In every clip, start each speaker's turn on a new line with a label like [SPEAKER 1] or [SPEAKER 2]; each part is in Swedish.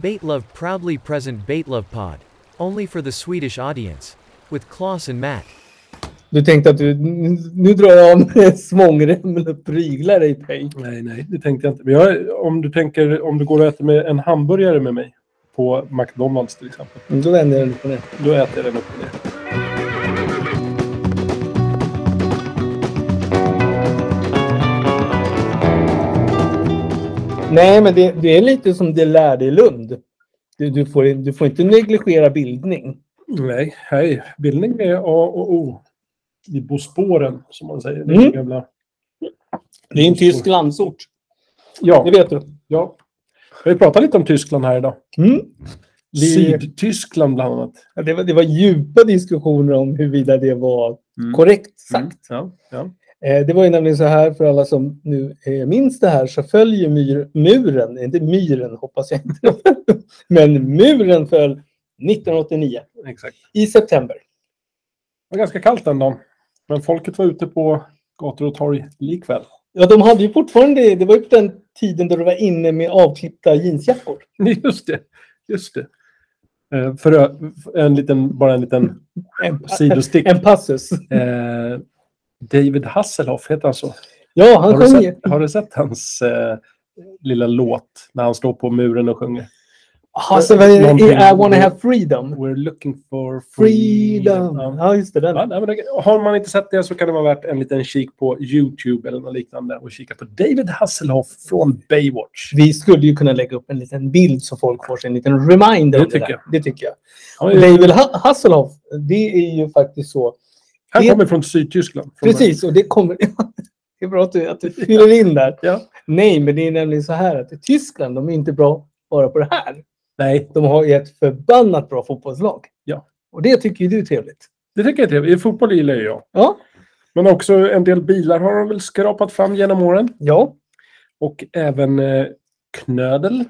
[SPEAKER 1] Baitlove proudly present Baitlove Pod. Only for the Swedish audience. With Klaus and Matt.
[SPEAKER 2] Du tänkte att du... Nu drar jag av mig svångremmen och pryglar dig, Pej.
[SPEAKER 3] Nej, nej, det tänkte jag inte. Men jag, om, du tänker, om du går och äter med en hamburgare med mig på McDonalds till exempel,
[SPEAKER 2] Då vänder jag upp på det.
[SPEAKER 3] då äter jag den upp och ner.
[SPEAKER 2] Nej, men det, det är lite som det lärde i Lund. Du, du, får, du får inte negligera bildning.
[SPEAKER 3] Nej, hej. Bildning är A och O. I Bosporen, som man säger. Det är
[SPEAKER 2] Mm.
[SPEAKER 3] gamla...
[SPEAKER 2] Det är en tysk landsort. Det
[SPEAKER 3] Ja,
[SPEAKER 2] vet du.
[SPEAKER 3] ja. Vi pratar lite om Tyskland här idag.
[SPEAKER 2] Mm. Det-
[SPEAKER 3] Sydtyskland bland annat.
[SPEAKER 2] Ja, det, var, det var djupa diskussioner om huruvida det var
[SPEAKER 3] Mm.
[SPEAKER 2] korrekt sagt.
[SPEAKER 3] Mm, Ja, ja.
[SPEAKER 2] Eh, Det var ju nämligen så här för alla som nu eh, minns det här så följer myr, muren, inte myren hoppas jag inte, men muren föll 1989
[SPEAKER 3] Exakt.
[SPEAKER 2] i september.
[SPEAKER 3] Det var ganska kallt den dagen. Men folket var ute på gator och torg likväl.
[SPEAKER 2] Ja, de hade ju fortfarande, det var ju på den tiden då det var inne med avklippta jeansjackor.
[SPEAKER 3] Just det. Just det. Eh, För ö- en liten, bara en liten
[SPEAKER 2] En,
[SPEAKER 3] sidostick.
[SPEAKER 2] en passus.
[SPEAKER 3] Eh, David Hasselhoff heter han så.
[SPEAKER 2] Ja,
[SPEAKER 3] Har
[SPEAKER 2] han
[SPEAKER 3] du
[SPEAKER 2] sjöng ju.
[SPEAKER 3] sett, har du sett hans eh, lilla låt när han står på muren och sjunger?
[SPEAKER 2] Alltså, vad är det?
[SPEAKER 3] Någonting-
[SPEAKER 2] I wanna have freedom.
[SPEAKER 3] We're looking for freedom.
[SPEAKER 2] Freedom.
[SPEAKER 3] Ja.
[SPEAKER 2] Ja, just det. Den.
[SPEAKER 3] Ja, nej, men det, har man inte sett det så kan det vara värt en liten kik på YouTube eller något liknande och kika på David Hasselhoff från Baywatch.
[SPEAKER 2] Vi skulle ju kunna lägga upp en liten bild så folk får sig en liten reminder
[SPEAKER 3] Det
[SPEAKER 2] om det
[SPEAKER 3] tycker
[SPEAKER 2] där.
[SPEAKER 3] jag.
[SPEAKER 2] Det tycker jag.
[SPEAKER 3] Han, är-
[SPEAKER 2] David Ha- Hasselhoff, det är ju faktiskt så.
[SPEAKER 3] han
[SPEAKER 2] det-
[SPEAKER 3] kommer från Sydtyskland. Från
[SPEAKER 2] Precis, och det kommer... det är bra att du, att du fyller in där.
[SPEAKER 3] Ja.
[SPEAKER 2] Nej, men det är nämligen så här att i Tyskland, de är inte bra bara på det här.
[SPEAKER 3] Nej,
[SPEAKER 2] De har ju ett förbannat bra fotbollslag.
[SPEAKER 3] Ja.
[SPEAKER 2] Och det tycker ju du är trevligt.
[SPEAKER 3] det tycker jag är trevligt. Fotboll gillar ju jag.
[SPEAKER 2] Ja.
[SPEAKER 3] Men också en del bilar har de väl skrapat fram genom åren.
[SPEAKER 2] Ja.
[SPEAKER 3] Och även eh, knödel.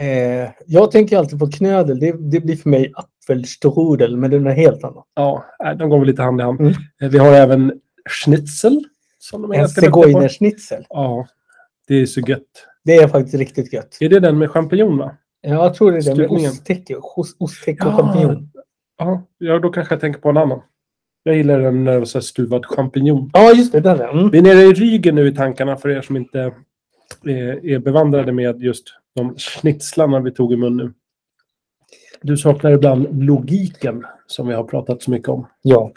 [SPEAKER 2] Eh, jag tänker alltid på knödel. Det, det blir för mig apfelstrudel, men det är något helt annat.
[SPEAKER 3] Ja, nej, de går väl lite hand i hand.
[SPEAKER 2] Mm.
[SPEAKER 3] Eh, Vi har även schnitzel. Som de är
[SPEAKER 2] En
[SPEAKER 3] ganska duktiga på.
[SPEAKER 2] zigeunerschnitzel.
[SPEAKER 3] Ja, det är så gött.
[SPEAKER 2] Det är faktiskt riktigt gött.
[SPEAKER 3] Är det den med champinjon, va?
[SPEAKER 2] Ja, Jag tror det är det med
[SPEAKER 3] Stuvningen.
[SPEAKER 2] osttäcke os- osttäcke och
[SPEAKER 3] Ja.
[SPEAKER 2] champinjon.
[SPEAKER 3] Ja, ja, då kanske jag tänker på en annan. Jag gillar den när det var så här stuvad champinjon.
[SPEAKER 2] Ja, just det. Där, ja. mm.
[SPEAKER 3] Vi är nere i Rügen nu i tankarna för er som inte eh, är bevandrade med just de schnitzlarna vi tog i mun nu. Du saknar ibland logiken som vi har pratat så mycket om.
[SPEAKER 2] Ja.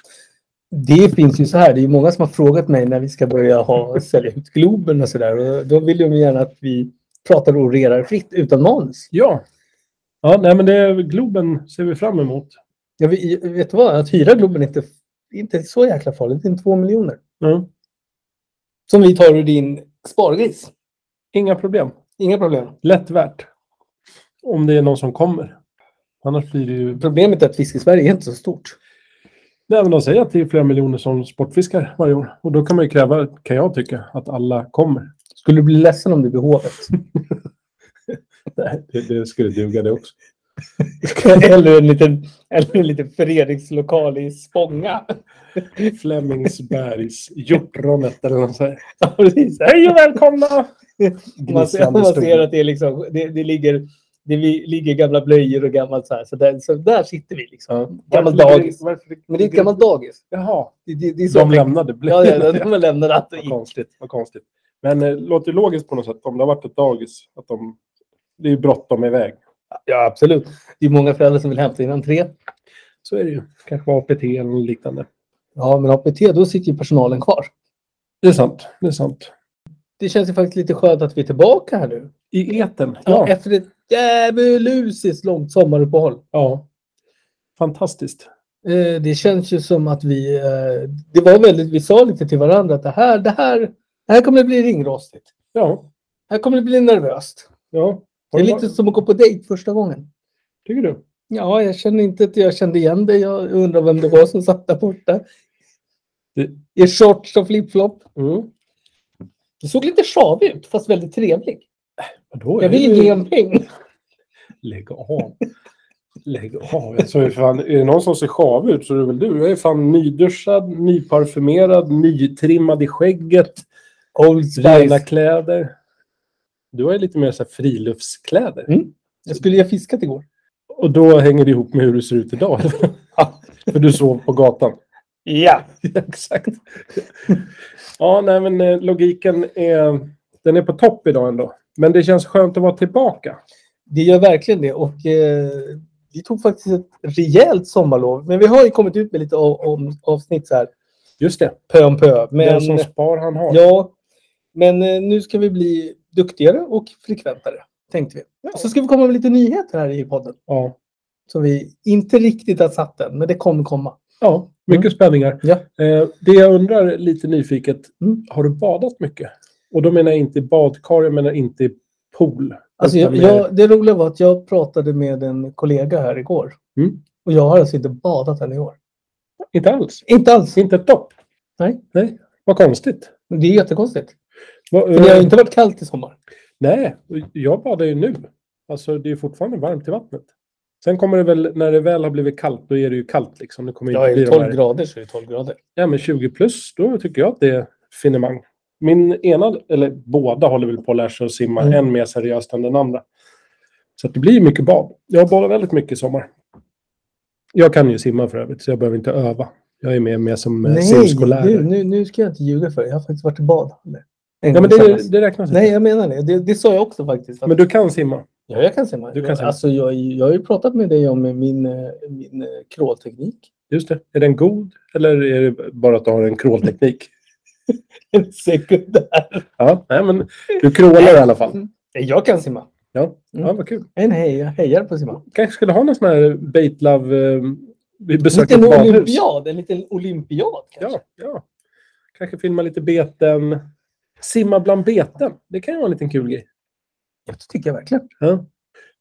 [SPEAKER 2] Det finns ju så här. Det är ju många som har frågat mig när vi ska börja ha, sälja ut Globen och sådär. Och Då vill de gärna att vi pratar och orerar fritt utan manus.
[SPEAKER 3] Ja. Ja, nej men det är Globen ser vi fram emot.
[SPEAKER 2] Jag vet, vet du vad? Att hyra Globen är inte, inte så jäkla farligt. Det är två miljoner.
[SPEAKER 3] Ja.
[SPEAKER 2] Som vi tar ur din spargris.
[SPEAKER 3] Inga problem.
[SPEAKER 2] Inga problem.
[SPEAKER 3] Lätt värt. Om det är någon som kommer. Annars blir det ju...
[SPEAKER 2] Problemet är att Fiskesverige är inte så stort.
[SPEAKER 3] Nej, men de säger att det är flera miljoner som sportfiskar varje år. Och då kan man ju kräva, kan jag tycka, att alla kommer.
[SPEAKER 2] Skulle du bli ledsen om det blir hovet?
[SPEAKER 3] Nej, det, det skulle duga det också.
[SPEAKER 2] eller, en liten, eller en liten föreningslokal i Spånga.
[SPEAKER 3] Flemingsbergs, hjortronet eller vad man säger.
[SPEAKER 2] Ja, precis.
[SPEAKER 3] Hej och välkomna!
[SPEAKER 2] Om man ser, om man ser att det, är liksom, det, det, ligger, det vi- ligger gamla blöjor och gammalt så här. Så där, så där sitter vi liksom. gammalt dagis. Men det är ett gammalt dagis.
[SPEAKER 3] Jaha,
[SPEAKER 2] Det, det, det är så.
[SPEAKER 3] de lämnade.
[SPEAKER 2] ja, ja, de har lämnat allt och
[SPEAKER 3] Vad
[SPEAKER 2] gick.
[SPEAKER 3] konstigt. Vad konstigt. Men eh, låter ju logiskt på något sätt. Om det har varit ett dagis. Att de, det är ju bråttom iväg.
[SPEAKER 2] Ja, absolut. Det är många föräldrar som vill hämta in entré.
[SPEAKER 3] Så är det ju. Kanske var APT eller något liknande.
[SPEAKER 2] Ja, men APT, då sitter ju personalen kvar.
[SPEAKER 3] Det är sant. Det är sant.
[SPEAKER 2] Det känns ju faktiskt lite skönt att vi är tillbaka här nu.
[SPEAKER 3] I etern.
[SPEAKER 2] Ja.
[SPEAKER 3] Ja.
[SPEAKER 2] Efter ett djävulusiskt långt sommaruppehåll.
[SPEAKER 3] ja. Fantastiskt.
[SPEAKER 2] Eh, det känns ju som att vi... Eh, det var väldigt... Vi sa lite till varandra att det här, det här, det här kommer att bli ringrostigt.
[SPEAKER 3] Ja.
[SPEAKER 2] Här kommer det bli nervöst.
[SPEAKER 3] ja.
[SPEAKER 2] Det är lite som att gå på dejt första gången.
[SPEAKER 3] Tycker du?
[SPEAKER 2] Ja, jag känner inte att jag kände igen dig. Jag undrar vem det var som satt där borta.
[SPEAKER 3] Det-
[SPEAKER 2] I shorts och flipflop.
[SPEAKER 3] Mm.
[SPEAKER 2] Du såg lite sjavig ut, fast väldigt trevlig.
[SPEAKER 3] Vadå?
[SPEAKER 2] Jag vill
[SPEAKER 3] Det är ju-
[SPEAKER 2] ju ge en peng.
[SPEAKER 3] Lägg av. Lägg av. Alltså, är, fan, är det någon som ser sjav ut så är det väl du. Jag är fan nyduschad, nyparfymerad, nytrimmad i skägget,
[SPEAKER 2] Old
[SPEAKER 3] rena kläder. Du har ju lite mer så här friluftskläder.
[SPEAKER 2] Mm. Jag skulle ha fiskat igår.
[SPEAKER 3] Och då hänger det ihop med hur du ser ut idag.
[SPEAKER 2] Ja.
[SPEAKER 3] För du sov på gatan.
[SPEAKER 2] Ja.
[SPEAKER 3] Exakt. ja, nej, men eh, logiken är, den är på topp idag ändå. Men det känns skönt att vara tillbaka.
[SPEAKER 2] Det gör verkligen det. Och eh, vi tog faktiskt ett rejält sommarlov. Men vi har ju kommit ut med lite av, om, avsnitt så här
[SPEAKER 3] Just det.
[SPEAKER 2] pö om pö. Men,
[SPEAKER 3] Den som spar han har.
[SPEAKER 2] ja, men eh, nu ska vi bli duktigare och frekventare, tänkte vi. Och så ska vi komma med lite nyheter här i podden.
[SPEAKER 3] Ja.
[SPEAKER 2] Som vi inte riktigt har satt än, men det kommer komma.
[SPEAKER 3] ja mycket spänningar.
[SPEAKER 2] Mm. Ja.
[SPEAKER 3] Eh, det jag undrar lite nyfiket.
[SPEAKER 2] Mm.
[SPEAKER 3] Har du badat mycket? Och då menar jag inte i badkar, jag menar inte i pool.
[SPEAKER 2] Alltså, jag,
[SPEAKER 3] Utan mer-
[SPEAKER 2] jag, det roliga var att jag pratade med en kollega här igår.
[SPEAKER 3] Mm.
[SPEAKER 2] Och jag har alltså inte badat än i år.
[SPEAKER 3] Inte alls.
[SPEAKER 2] Inte alls.
[SPEAKER 3] Inte ett dopp.
[SPEAKER 2] Nej.
[SPEAKER 3] Nej. Vad konstigt.
[SPEAKER 2] Men Det är jättekonstigt.
[SPEAKER 3] Vad-
[SPEAKER 2] För det har ju inte varit kallt i sommar.
[SPEAKER 3] eh, Nej, jag badar ju nu. Alltså det är fortfarande varmt i vattnet. Sen kommer det väl, när det väl har blivit kallt, då är det ju kallt liksom. Det kommer
[SPEAKER 2] Ja,
[SPEAKER 3] inte
[SPEAKER 2] är det
[SPEAKER 3] bli
[SPEAKER 2] 12
[SPEAKER 3] de här,
[SPEAKER 2] grader så är det 12 grader.
[SPEAKER 3] Ja, men 20 plus, då tycker jag att det är finemang. Min ena, eller båda håller väl på att lära sig att simma,
[SPEAKER 2] Mm.
[SPEAKER 3] en mer seriöst än den andra. Så att det blir mycket bad. Jag badar väldigt mycket i sommar. Jag kan ju simma för övrigt, så jag behöver inte öva. Jag är mer med som eh, simskolär.
[SPEAKER 2] nu, nu, nu ska jag inte ljuga för dig. Jag har faktiskt varit i bad. En
[SPEAKER 3] Ja,
[SPEAKER 2] gång
[SPEAKER 3] men
[SPEAKER 2] i somras.
[SPEAKER 3] det, det räknas
[SPEAKER 2] Nej,
[SPEAKER 3] inte.
[SPEAKER 2] jag menar det. det. Det sa jag också faktiskt. Att,
[SPEAKER 3] Men du kan simma?
[SPEAKER 2] ja, jag kan simma.
[SPEAKER 3] Du kan simma.
[SPEAKER 2] Alltså, jag, jag har ju pratat med dig om min, eh, min eh, crawlteknik.
[SPEAKER 3] Just det. Är den god eller är det bara att du har en crawlteknik?
[SPEAKER 2] En sekundär.
[SPEAKER 3] Ja, nej, men du crawlar i alla fall.
[SPEAKER 2] Jag kan simma.
[SPEAKER 3] Ja, ja
[SPEAKER 2] Mm.
[SPEAKER 3] vad kul.
[SPEAKER 2] En hej, jag hejar på att simma.
[SPEAKER 3] kanske skulle ha någon sån här Bait Love... Eh, vi
[SPEAKER 2] En
[SPEAKER 3] besöker
[SPEAKER 2] liten
[SPEAKER 3] ett badhus.
[SPEAKER 2] olympiad. En liten olympiad kanske.
[SPEAKER 3] Ja, ja. Kanske filma lite beten. Simma bland beten. Det kan ju vara en liten kul grej.
[SPEAKER 2] Ja. Det tycker jag verkligen.
[SPEAKER 3] Ja.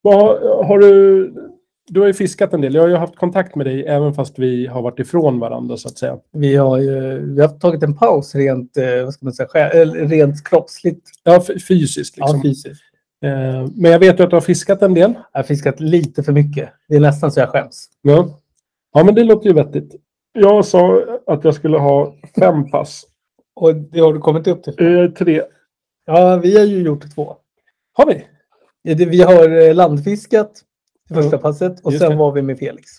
[SPEAKER 3] Vad har, har du... Du har ju fiskat en del. Jag har ju haft kontakt med dig även fast vi har varit ifrån varandra så att säga.
[SPEAKER 2] Vi har, ju, vi har tagit en paus rent, eh, vad ska man säga, själ- eller rent kroppsligt.
[SPEAKER 3] Ja, f- fysiskt liksom.
[SPEAKER 2] Ja, fysiskt.
[SPEAKER 3] eh, men jag vet ju att du har fiskat en del.
[SPEAKER 2] Jag har fiskat lite för mycket. Det är nästan så jag skäms.
[SPEAKER 3] Ja. ja, men det låter ju vettigt. Jag sa att jag skulle ha fem pass.
[SPEAKER 2] Och det har du kommit upp till?
[SPEAKER 3] Eh, tre.
[SPEAKER 2] Ja, vi har ju gjort två.
[SPEAKER 3] Har vi?
[SPEAKER 2] Ja, det- Vi har eh, landfiskat det första
[SPEAKER 3] Mm.
[SPEAKER 2] passet och
[SPEAKER 3] Just
[SPEAKER 2] sen
[SPEAKER 3] det.
[SPEAKER 2] var vi med Felix.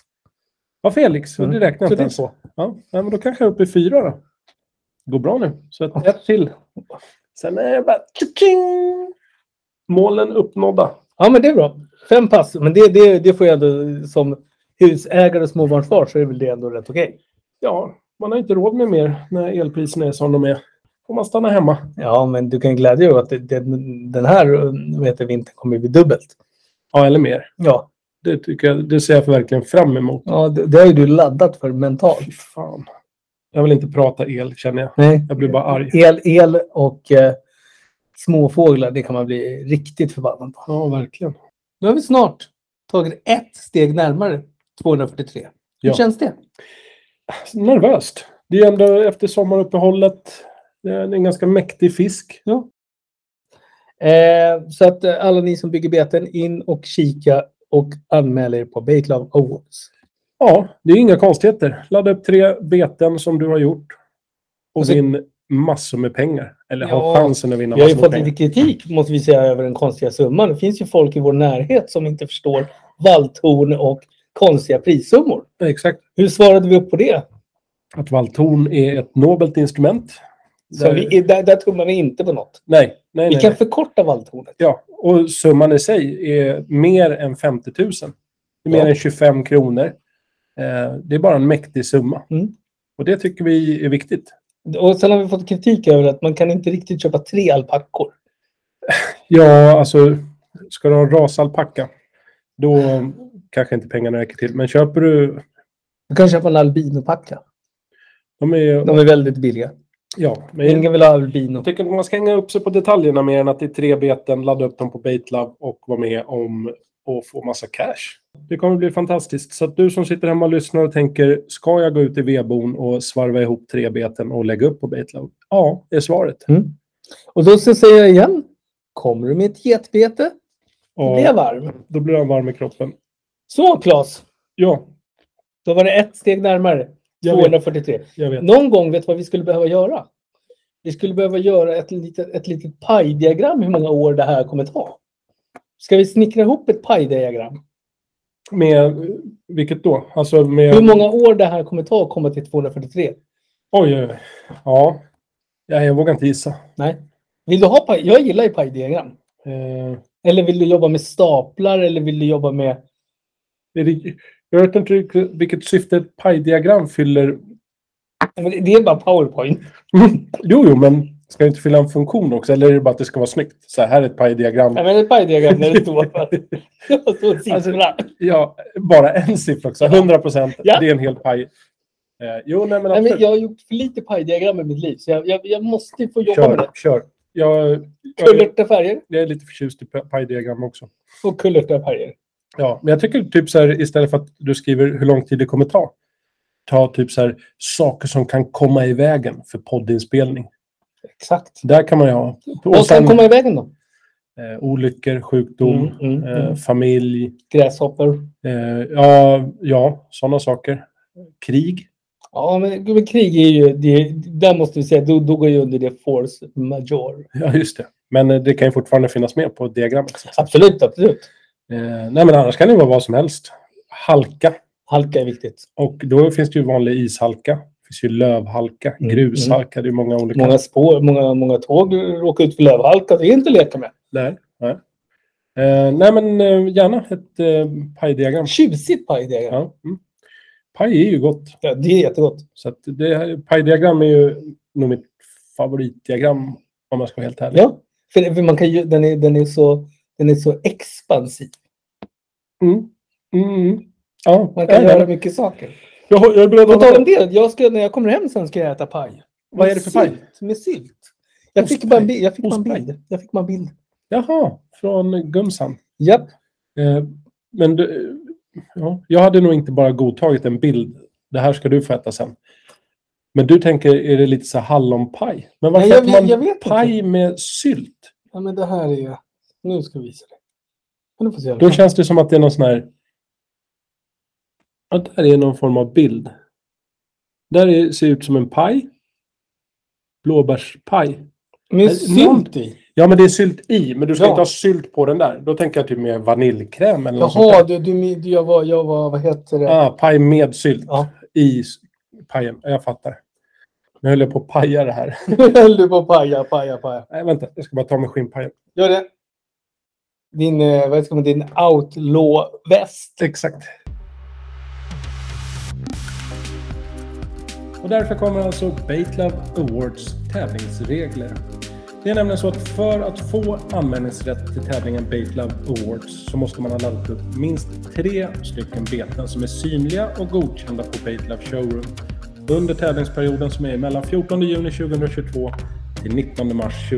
[SPEAKER 3] Ja, Felix.
[SPEAKER 2] Mm.
[SPEAKER 3] Det räknar
[SPEAKER 2] Så
[SPEAKER 3] inte
[SPEAKER 2] det är
[SPEAKER 3] ens. Ja, nej, men då kanske jag är uppe i fyra då. Går bra nu. Så ett, ett till. Sen är det bara... tjing! Målen uppnådda.
[SPEAKER 2] Ja, men det är bra. Fem pass. Men det, det, det får jag ändå eh, som husägare och småbarnsfar så är väl det ändå rätt okej.
[SPEAKER 3] Ja, man har inte råd med mer när elpriserna är som de är. Får man stanna hemma.
[SPEAKER 2] Ja, men du kan glädja dig åt att det, det, den här eh, vad heter, det, vintern kommer bli dubbelt.
[SPEAKER 3] Ja, eller mer.
[SPEAKER 2] Ja,
[SPEAKER 3] Det, tycker jag, det ser jag verkligen fram emot.
[SPEAKER 2] ja det, det har ju du laddat för mentalt.
[SPEAKER 3] Fy fan. Jag vill inte prata el, känner jag.
[SPEAKER 2] Nej.
[SPEAKER 3] Jag blir bara arg.
[SPEAKER 2] El, el och eh, småfåglar, det kan man bli riktigt förbannad på.
[SPEAKER 3] Ja, verkligen.
[SPEAKER 2] Nu har vi snart tagit ett steg närmare 243. Hur
[SPEAKER 3] Ja.
[SPEAKER 2] känns det?
[SPEAKER 3] nervöst. Det är ändå efter sommaruppehållet. Det är en ganska mäktig fisk.
[SPEAKER 2] Ja. Eh, så att eh, alla ni som bygger beten, in och kika och anmäl er på Baitlove Awards.
[SPEAKER 3] Ja, det är inga konstigheter. Ladda upp tre beten som du har gjort. Och
[SPEAKER 2] Alltså-
[SPEAKER 3] vinn massor med pengar. Eller ha
[SPEAKER 2] Ja.
[SPEAKER 3] chansen att vinna
[SPEAKER 2] Vi har ju
[SPEAKER 3] massor med
[SPEAKER 2] fått
[SPEAKER 3] pengar.
[SPEAKER 2] lite kritik, måste vi säga, över den konstiga summan. Det finns ju folk i vår närhet som inte förstår valthorn och konstiga prissummor.
[SPEAKER 3] Exakt.
[SPEAKER 2] Hur svarade vi upp på det?
[SPEAKER 3] Att valthorn är ett nobelt instrument.
[SPEAKER 2] Så vi, där, där tummar vi inte på något.
[SPEAKER 3] Nej, nej,
[SPEAKER 2] Vi
[SPEAKER 3] nej.
[SPEAKER 2] kan
[SPEAKER 3] nej.
[SPEAKER 2] förkorta valthornet.
[SPEAKER 3] Ja, och summan i sig är mer än 50 000. Det är mer
[SPEAKER 2] Ja.
[SPEAKER 3] än 25 kronor. Eh, det är bara en mäktig summa.
[SPEAKER 2] Mm.
[SPEAKER 3] Och det tycker vi är viktigt.
[SPEAKER 2] Och sen har vi fått kritik över att man kan inte riktigt köpa tre alpackor.
[SPEAKER 3] Ja, alltså ska du ha rasalpacka, då kanske inte pengarna räcker till. Men köper du,
[SPEAKER 2] Du kan köpa en albinopacka.
[SPEAKER 3] de är ju...
[SPEAKER 2] De är väldigt billiga.
[SPEAKER 3] Ja, men
[SPEAKER 2] Ingen vill ha albino.
[SPEAKER 3] jag tycker att man ska hänga upp sig på detaljerna mer än att det är tre beten, ladda upp dem på Baitlab och vara med om och få massa cash. Det kommer bli fantastiskt. Så att du som sitter hemma och lyssnar och tänker, ska jag gå ut i vedbon och svarva ihop tre beten och lägga upp på Baitlab? Ja, är svaret.
[SPEAKER 2] Och då så säger jag igen. Kommer du med ett getbete? Då
[SPEAKER 3] Och
[SPEAKER 2] blir jag varm.
[SPEAKER 3] då blir han varm i kroppen.
[SPEAKER 2] Så Claes,
[SPEAKER 3] Ja,
[SPEAKER 2] då var det ett steg närmare.
[SPEAKER 3] Jag vet.
[SPEAKER 2] 243.
[SPEAKER 3] jag vet.
[SPEAKER 2] Någon gång vet du vad vi skulle behöva göra? Vi skulle behöva göra ett litet, ett litet pajdiagram hur många år det här kommer ta. Ska vi snickra ihop ett pajdiagram?
[SPEAKER 3] Med, vilket då? Alltså med...
[SPEAKER 2] Hur många år det här kommer ta att komma till 243?
[SPEAKER 3] Oj, oj, oj. Ja. ja, jag vågar inte gissa.
[SPEAKER 2] Nej. Vill du ha paj? Jag gillar ju pajdiagram.
[SPEAKER 3] Eh,
[SPEAKER 2] Eller vill du jobba med staplar eller vill du jobba med...
[SPEAKER 3] är det, jag vet inte riktigt vilket syfte ett pajdiagram fyller.
[SPEAKER 2] Nej, men Det är bara powerpoint.
[SPEAKER 3] Mm. Jo, jo, men ska det inte fylla en funktion också? Eller är det bara att det ska vara snyggt? Så här, här är ett pajdiagram.
[SPEAKER 2] Nej, men ett pajdiagram när det står Jag står siffra.
[SPEAKER 3] Alltså- Ja, bara en siffra också. 100 procent.
[SPEAKER 2] Ja.
[SPEAKER 3] Det är en hel paj. Eh, jo, nej
[SPEAKER 2] Nej,
[SPEAKER 3] men
[SPEAKER 2] men
[SPEAKER 3] absolut.
[SPEAKER 2] jag har gjort för lite pajdiagram i mitt liv, så jag, jag, jag måste ju få jobba med
[SPEAKER 3] Kör,
[SPEAKER 2] det.
[SPEAKER 3] kör. Jag, jag,
[SPEAKER 2] Kulörta färger
[SPEAKER 3] jag är lite förtjust i pa- pajdiagram också.
[SPEAKER 2] och kulörta färger.
[SPEAKER 3] Ja, men jag tycker typ så här istället för att du skriver hur lång tid det kommer ta. Ta typ så här saker som kan komma i vägen för poddinspelning.
[SPEAKER 2] Exakt.
[SPEAKER 3] Där kan man ju ha.
[SPEAKER 2] Vad
[SPEAKER 3] Och
[SPEAKER 2] kan
[SPEAKER 3] sen
[SPEAKER 2] komma i vägen då?
[SPEAKER 3] eh, olyckor, sjukdom,
[SPEAKER 2] Mm, mm,
[SPEAKER 3] eh,
[SPEAKER 2] mm.
[SPEAKER 3] familj.
[SPEAKER 2] Gräshoppor.
[SPEAKER 3] Eh, ja, ja sådana saker. Krig.
[SPEAKER 2] Ja, men, men krig är ju... Det, där måste vi säga, då, då går ju under det force major.
[SPEAKER 3] Ja, just det. Men eh, det kan ju fortfarande finnas med på diagrammet. så att säga.
[SPEAKER 2] Absolut, absolut.
[SPEAKER 3] Eh, nej, men annars kan det vara vad som helst. Halka.
[SPEAKER 2] Halka är viktigt.
[SPEAKER 3] Och då finns det ju vanlig ishalka. Det finns ju lövhalka,
[SPEAKER 2] Mm,
[SPEAKER 3] grushalka. Det är många olika.
[SPEAKER 2] Många spår, många, många tåg råkar ut för lövhalka. Det är inte att leka med.
[SPEAKER 3] Nej. Nej, eh, nej men eh, gärna ett eh, pajdiagram.
[SPEAKER 2] Tjusigt pajdiagram.
[SPEAKER 3] Ja. Mm. Paj är ju gott.
[SPEAKER 2] Ja, det är jättegott.
[SPEAKER 3] Så att det här, pajdiagram är ju nog mitt favoritdiagram om jag ska vara helt ärlig.
[SPEAKER 2] Ja, för, för man kan ju, den, är, den, är så, den är så expansiv.
[SPEAKER 3] Mm. Mm. mm. Ja,
[SPEAKER 2] Man kan
[SPEAKER 3] jag är
[SPEAKER 2] göra
[SPEAKER 3] beredd.
[SPEAKER 2] mycket saker.
[SPEAKER 3] Jag, har- jag är beredd
[SPEAKER 2] På
[SPEAKER 3] att
[SPEAKER 2] tal
[SPEAKER 3] hålla
[SPEAKER 2] om
[SPEAKER 3] med.
[SPEAKER 2] det, jag ska, när jag kommer hem sen ska jag äta paj.
[SPEAKER 3] Vad
[SPEAKER 2] Med
[SPEAKER 3] är det för paj?
[SPEAKER 2] sylt, Med sylt. Jag fick
[SPEAKER 3] Ostpaj.
[SPEAKER 2] bara en bild. Jag fick bara en
[SPEAKER 3] Ostpaj.
[SPEAKER 2] bild. Jag fick bara en bild.
[SPEAKER 3] Jaha, från Gumsan.
[SPEAKER 2] Japp.
[SPEAKER 3] Eh, men du, ja, jag hade nog inte bara godtagit en bild. Det här ska du få äta sen. Men du tänker, är det lite så här hallonpaj? Men varför
[SPEAKER 2] Nej, jag
[SPEAKER 3] äter
[SPEAKER 2] vet-
[SPEAKER 3] man
[SPEAKER 2] jag vet inte.
[SPEAKER 3] paj med sylt?
[SPEAKER 2] Ja, men det här är... Nu ska vi visa dig. Men du får se.
[SPEAKER 3] Då känns det som att det är någon sån här... Att det här är någon form av bild. Där är, ser ut som en paj. Blåbärspaj.
[SPEAKER 2] Med
[SPEAKER 3] Äh,
[SPEAKER 2] sylt i.
[SPEAKER 3] Ja, men det är sylt i. Men du ska
[SPEAKER 2] Ja.
[SPEAKER 3] inte ha sylt på den där. Då tänker jag typ mer vaniljkräm eller något
[SPEAKER 2] Jaha,
[SPEAKER 3] sånt
[SPEAKER 2] du, du, du, jag var... Jag var vad heter det?
[SPEAKER 3] där. Ah, paj med sylt
[SPEAKER 2] Ja.
[SPEAKER 3] i s- pajen. Ja, Jag fattar. Nu höll jag på att paja det här.
[SPEAKER 2] Nu höll du på att paja, paja, paja.
[SPEAKER 3] Nej, vänta. Jag ska bara ta med skinnpajen.
[SPEAKER 2] Gör det. Din, eh, vad ska man, din outlaw-väst.
[SPEAKER 3] Exakt. Och därför kommer alltså Baitlove Awards tävlingsregler. Det är nämligen så att för att få anmälningsrätt till tävlingen Baitlove Awards så måste man ha laddat upp minst tre stycken beten som är synliga och godkända på Baitlove Showroom under tävlingsperioden som är mellan 14 juni 2022 till 19 mars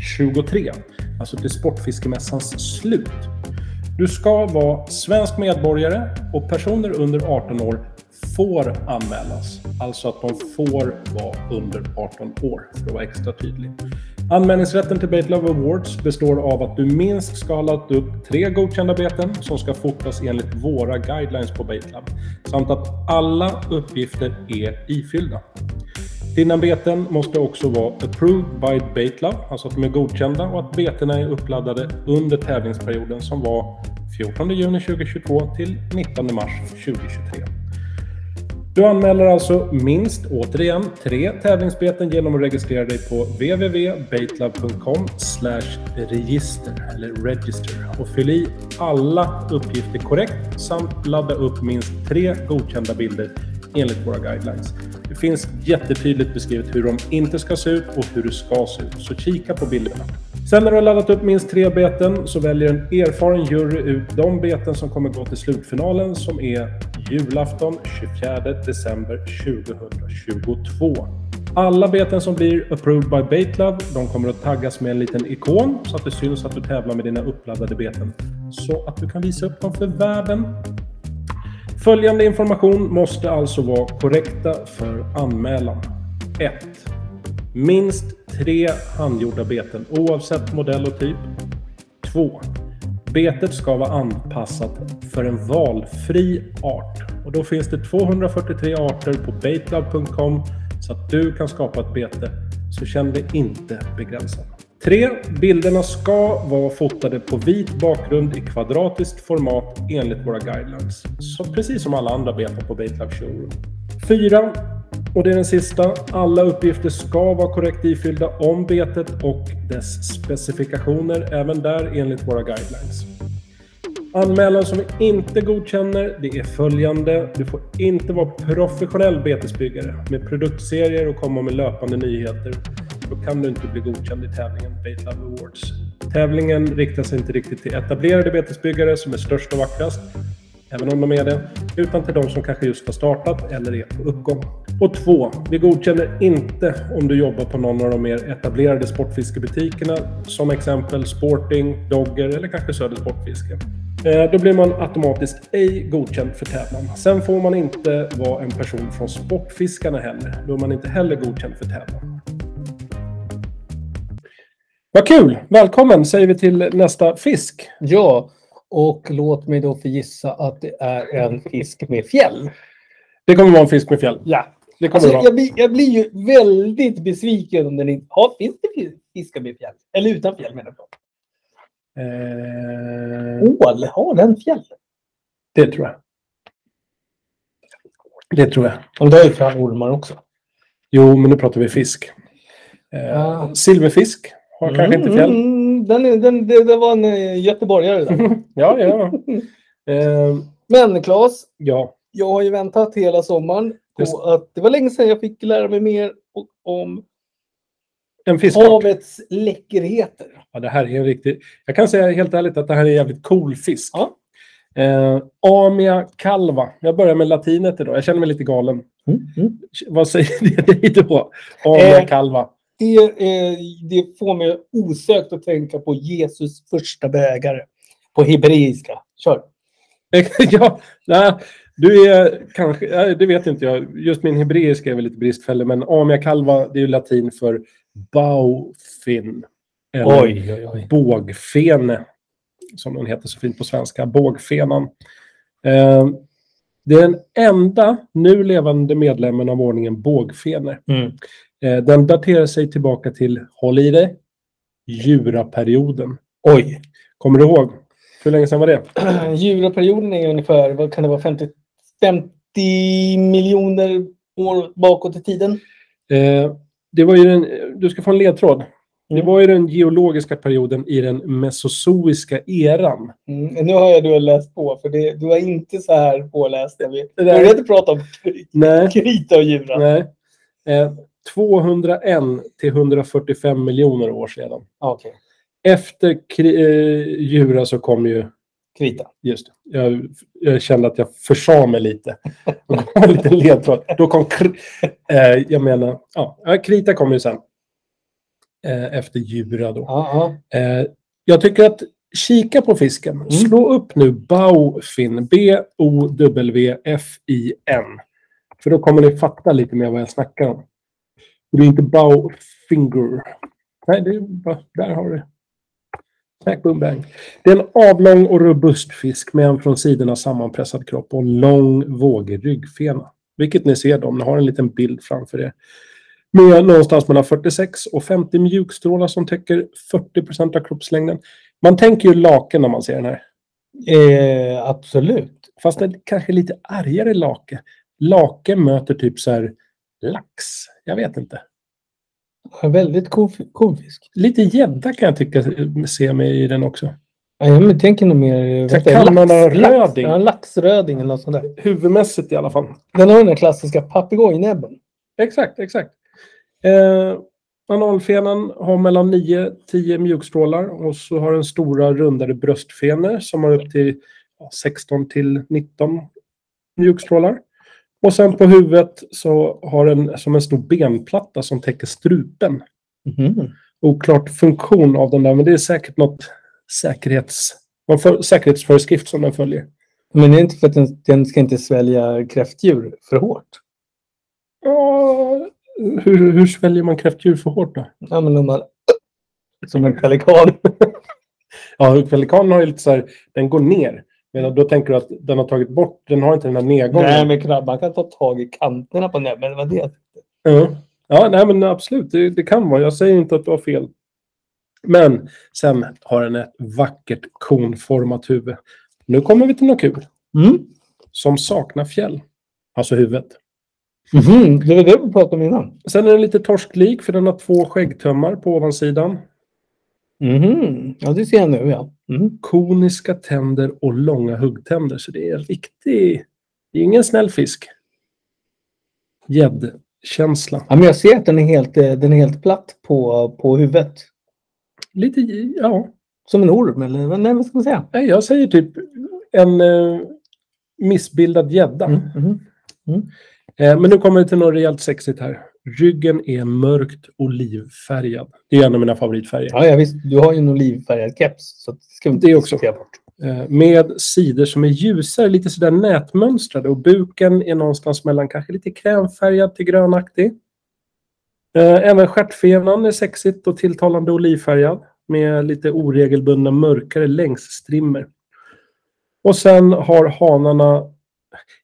[SPEAKER 3] 2023. Alltså till Sportfiskemässans slut. Du ska vara svensk medborgare och personer under 18 år får anmälas. Alltså att de får vara under 18 år, för att vara extra tydlig. Anmälningsrätten till Baitlove Awards består av att du minst ska ha lagt upp tre godkända beten som ska fotas enligt våra guidelines på Baitlove, samt att alla uppgifter är ifyllda. Dina beten måste också vara approved by Baitlove, alltså att de är godkända och att betena är uppladdade under tävlingsperioden som var 14 juni 2022 till 19 mars 2023. Du anmäler alltså minst, återigen, tre tävlingsbeten genom att registrera dig på www.baitlove.com register eller register och fyll i alla uppgifter korrekt samt ladda upp minst tre godkända bilder enligt våra guidelines. Det finns jättetydligt beskrivet hur de inte ska se ut och hur det ska se ut, så kika på bilderna. Sen när du har laddat upp minst tre beten så väljer en erfaren jury ut de beten som kommer gå till slutfinalen som är julafton 24 december 2022. Alla beten som blir approved by Baitlove, de kommer att taggas med en liten ikon så att det syns att du tävlar med dina uppladdade beten så att du kan visa upp dem för världen Följande information måste alltså vara korrekta för anmälan. 1. Minst tre handgjorda beten oavsett modell och typ. 2. Betet ska vara anpassat för en valfri art. Och då finns det 243 arter på baitlove.com så att du kan skapa ett bete. Så känn dig inte begränsad. 3. Bilderna ska vara fotade på vit bakgrund i kvadratiskt format enligt våra guidelines. Så precis som alla andra beta på Baitlab Showroom. 4. Och det är den sista. Alla uppgifter ska vara korrekt ifyllda om betet och dess specifikationer, även där enligt våra guidelines. Anmälan som vi inte godkänner, det är följande. Du får inte vara professionell betesbyggare med produktserier och komma med löpande nyheter. Då kan du inte bli godkänd i tävlingen Baitlab Awards. Tävlingen riktar sig inte riktigt till etablerade betesbyggare som är störst och vackrast, även om de är det, utan till de som kanske just har startat eller är på uppgång. Och två, vi godkänner inte om du jobbar på någon av de mer etablerade sportfiskebutikerna, som exempel Sporting, Dogger eller kanske Söder Sportfiske. Eh, Då blir man automatiskt ej godkänd för tävlan. Sen får man inte vara en person från Sportfiskarna heller. Då är man inte heller godkänd för tävlan. Vad kul! Välkommen säger vi till nästa fisk.
[SPEAKER 2] Ja, och låt mig då få gissa att det är en fisk med fjäll.
[SPEAKER 3] Det kommer vara en fisk med fjäll.
[SPEAKER 2] Ja.
[SPEAKER 3] Det kommer
[SPEAKER 2] Alltså,
[SPEAKER 3] det vara.
[SPEAKER 2] jag, blir, jag blir ju väldigt besviken om den inte... Ja, finns det fi- fiskar med fjäll? Eller utan fjäll menar jag.
[SPEAKER 3] Eh,
[SPEAKER 2] Ål, har den fjäll?
[SPEAKER 3] det tror jag. Det tror jag.
[SPEAKER 2] Och det är ju fan ormar också.
[SPEAKER 3] Jo, men nu pratar vi fisk. Eh,
[SPEAKER 2] Ah.
[SPEAKER 3] Silverfisk har kanske inte fjäll.
[SPEAKER 2] Mm, den, är- den, det, det var en eh, göteborgare där.
[SPEAKER 3] Ja, ja. Eh,
[SPEAKER 2] Men Claes,
[SPEAKER 3] ja.
[SPEAKER 2] jag har ju väntat hela sommaren
[SPEAKER 3] Just.
[SPEAKER 2] på att det var länge sedan jag fick lära mig mer o- om
[SPEAKER 3] En fiskart.
[SPEAKER 2] havets läckerheter.
[SPEAKER 3] Ja, det här är en riktig... Jag kan säga helt ärligt att det här är en jävligt cool fisk.
[SPEAKER 2] Ja.
[SPEAKER 3] Eh, Amia calva. Jag börjar med latinet idag. Jag känner mig lite galen.
[SPEAKER 2] Mm,
[SPEAKER 3] Vad säger det dig då? Amia
[SPEAKER 2] Eh.
[SPEAKER 3] calva.
[SPEAKER 2] Det, eh, det får mig osökt att tänka på Jesus första bägare på hebreiska. Kör!
[SPEAKER 3] ja, nej, du är kanske... Nej, det vet inte jag. Just min hebreiska är väl lite bristfällig, men Amia calva, det är ju latin för baufin. Eller
[SPEAKER 2] oj, oj.
[SPEAKER 3] bågfene, som den heter så fint på svenska, bågfenan. Eh, det är den enda nu levande medlemmen av ordningen bågfener.
[SPEAKER 2] Mm.
[SPEAKER 3] Eh, den daterar sig tillbaka till, håll i dig, djuraperioden.
[SPEAKER 2] oj.
[SPEAKER 3] Kommer du ihåg? Hur länge sedan var det?
[SPEAKER 2] Juraperioden är ungefär, vad kan det vara, 50, 50 miljoner år bakåt i tiden?
[SPEAKER 3] Eh, det var ju den, du ska få en ledtråd. Det
[SPEAKER 2] Mm.
[SPEAKER 3] var ju den geologiska perioden i den mesozoiska eran.
[SPEAKER 2] Mm, nu har jag du har läst på, för det, du var inte så här påläst. Jag vet.
[SPEAKER 3] Det
[SPEAKER 2] Du
[SPEAKER 3] där-
[SPEAKER 2] började prata om
[SPEAKER 3] Nej.
[SPEAKER 2] krita och djuren.
[SPEAKER 3] Nej. Eh, 201 till 145 miljoner år sedan.
[SPEAKER 2] Ah, Okej,
[SPEAKER 3] Efter kri- eh, Jura så kom ju...
[SPEAKER 2] krita.
[SPEAKER 3] Just det. jag, jag kände att jag försa mig lite. Då kom en liten ledtråd. Då kom... Kr- eh, jag menar... Ja, ja, Krita kom ju sen. Eh, efter Jura då.
[SPEAKER 2] Ah, ah.
[SPEAKER 3] Eh, jag tycker att kika på fisken. Slå upp nu Baufin. B-O-W-F-I-N. För då kommer ni fatta lite mer vad jag snackar om. Det är inte Baufinger. Nej, det är bara, där har du det. Tack, boom, bang. Det är en avlång och robust fisk med en från sidorna sammanpressad kropp och lång vågig ryggfena. Vilket ni ser då, om ni har en liten bild framför er. Med någonstans mellan 46 och 50 mjukstrålar som täcker 40 av kroppslängden. Man tänker ju laken när man ser den här.
[SPEAKER 2] Eh, absolut.
[SPEAKER 3] Fast det kanske lite argare lake. Lake möter typ så här lax. Jag vet inte.
[SPEAKER 2] En väldigt cool, fi- cool fisk.
[SPEAKER 3] Lite gädda kan jag tycka se mig i den också.
[SPEAKER 2] Ja, jag tänker nog mer...
[SPEAKER 3] Så
[SPEAKER 2] vet du,
[SPEAKER 3] Kalmar
[SPEAKER 2] lax- lax-
[SPEAKER 3] röding.
[SPEAKER 2] Ja, laxröding eller något sånt där.
[SPEAKER 3] Huvudmässigt i alla fall.
[SPEAKER 2] Den har den där klassiska papegojnäbben.
[SPEAKER 3] Exakt, exakt. Eh, analfenan har mellan 9-10 mjukstrålar och så har den stora rundade bröstfenor som har upp till ja, 16 till 19 mjukstrålar. Och sen på huvudet så har den som en stor benplatta som täcker strupen.
[SPEAKER 2] Mhm.
[SPEAKER 3] Oklart funktion av den där, men det är säkert något säkerhets, någon för, säkerhetsföreskrift som den följer.
[SPEAKER 2] Men det är inte för att den, den ska inte svälja kräftdjur för hårt.
[SPEAKER 3] Ja, hur, hur sväljer man kräftdjur för hårt då?
[SPEAKER 2] Ja, men om man... Som en pelikan.
[SPEAKER 3] Ja, pelikanen har ju lite så här, den går ner. Medan då tänker du att den har tagit bort, den har inte den här nedgången.
[SPEAKER 2] Nej, men krabban kan ta tag i kanterna på näbben. Det var det.
[SPEAKER 3] Ja. ja, nej men absolut, det, det kan vara. Jag säger inte att du har fel. Men sen har den ett vackert konformat huvud. Nu kommer vi till något kul.
[SPEAKER 2] Mm.
[SPEAKER 3] Som saknar fjäll. Alltså huvudet.
[SPEAKER 2] Mhm, Det var det vi pratade om innan.
[SPEAKER 3] Sen är den lite torsklik för den har två skäggtömmar på ovansidan.
[SPEAKER 2] Mhm, Ja, det ser jag nu ja. Mm.
[SPEAKER 3] Koniska tänder och långa huggtänder. Så det är en riktig... Det är ingen snäll fisk. Gäddkänsla.
[SPEAKER 2] Ja, men jag ser att den är helt, eh, den är helt platt på, på huvudet.
[SPEAKER 3] Lite, ja.
[SPEAKER 2] Som en orm eller vad- nej, vad ska man säga?
[SPEAKER 3] Nej, Jag säger typ en eh, missbildad gädda.
[SPEAKER 2] Mhm.
[SPEAKER 3] Eh, men nu kommer vi till något rejält sexigt här. Ryggen är mörkt olivfärgad. Det är en av mina favoritfärger.
[SPEAKER 2] Ja, ja, visst. Du har ju en olivfärgad keps. Så det ska vi inte
[SPEAKER 3] Det också.
[SPEAKER 2] diskutera bort.
[SPEAKER 3] Eh, med sidor som är ljusare, lite sådär nätmönstrade och buken är någonstans mellan kanske lite krämfärgad till grönaktig. Eh, även stjärtfenan är sexigt och tilltalande olivfärgad med lite oregelbundna mörkare längsstrimmer. Och sen har hanarna,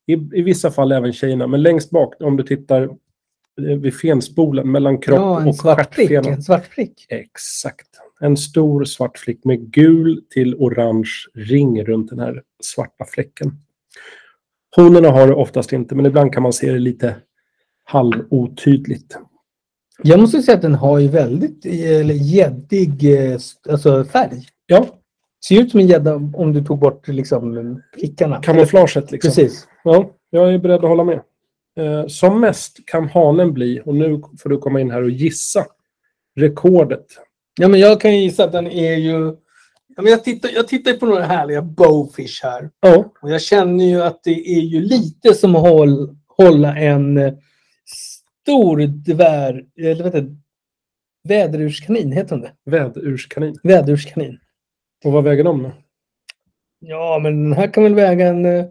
[SPEAKER 3] i, i vissa fall även tjejerna, men längst bak om du tittar eh, vid fenspolen mellan kropp
[SPEAKER 2] ja, en
[SPEAKER 3] och
[SPEAKER 2] svart prick.
[SPEAKER 3] stjärtfenan.
[SPEAKER 2] En svart prick.
[SPEAKER 3] Exakt. En stor svart fläck med gul till orange ring runt den här svarta fläcken. Honorna har det oftast inte, men ibland kan man se det lite halvotydligt.
[SPEAKER 2] Jag måste säga att den har ju väldigt eh, eller gäddig eh, s- alltså, färg.
[SPEAKER 3] Ja,
[SPEAKER 2] Ser ut som en gädda om du tog bort liksom, prickarna.
[SPEAKER 3] kamouflaget liksom.
[SPEAKER 2] Precis.
[SPEAKER 3] Ja, jag är beredd att hålla med. Eh, som mest kan hanen bli, och nu får du komma in här och gissa, rekordet.
[SPEAKER 2] Ja, men jag kan ju gissa att den är ju... Ja, men jag, tittar, jag tittar på några härliga bowfish här.
[SPEAKER 3] Ja,
[SPEAKER 2] Och jag känner ju att det är ju lite som att håll, hålla en eh, stor dvär... Eller vad heter det? Väderurskanin, heter den det?
[SPEAKER 3] väderurskanin.
[SPEAKER 2] Väderurskanin.
[SPEAKER 3] Och vad väger de nu?
[SPEAKER 2] Ja, men den här kan väl väga en... eh,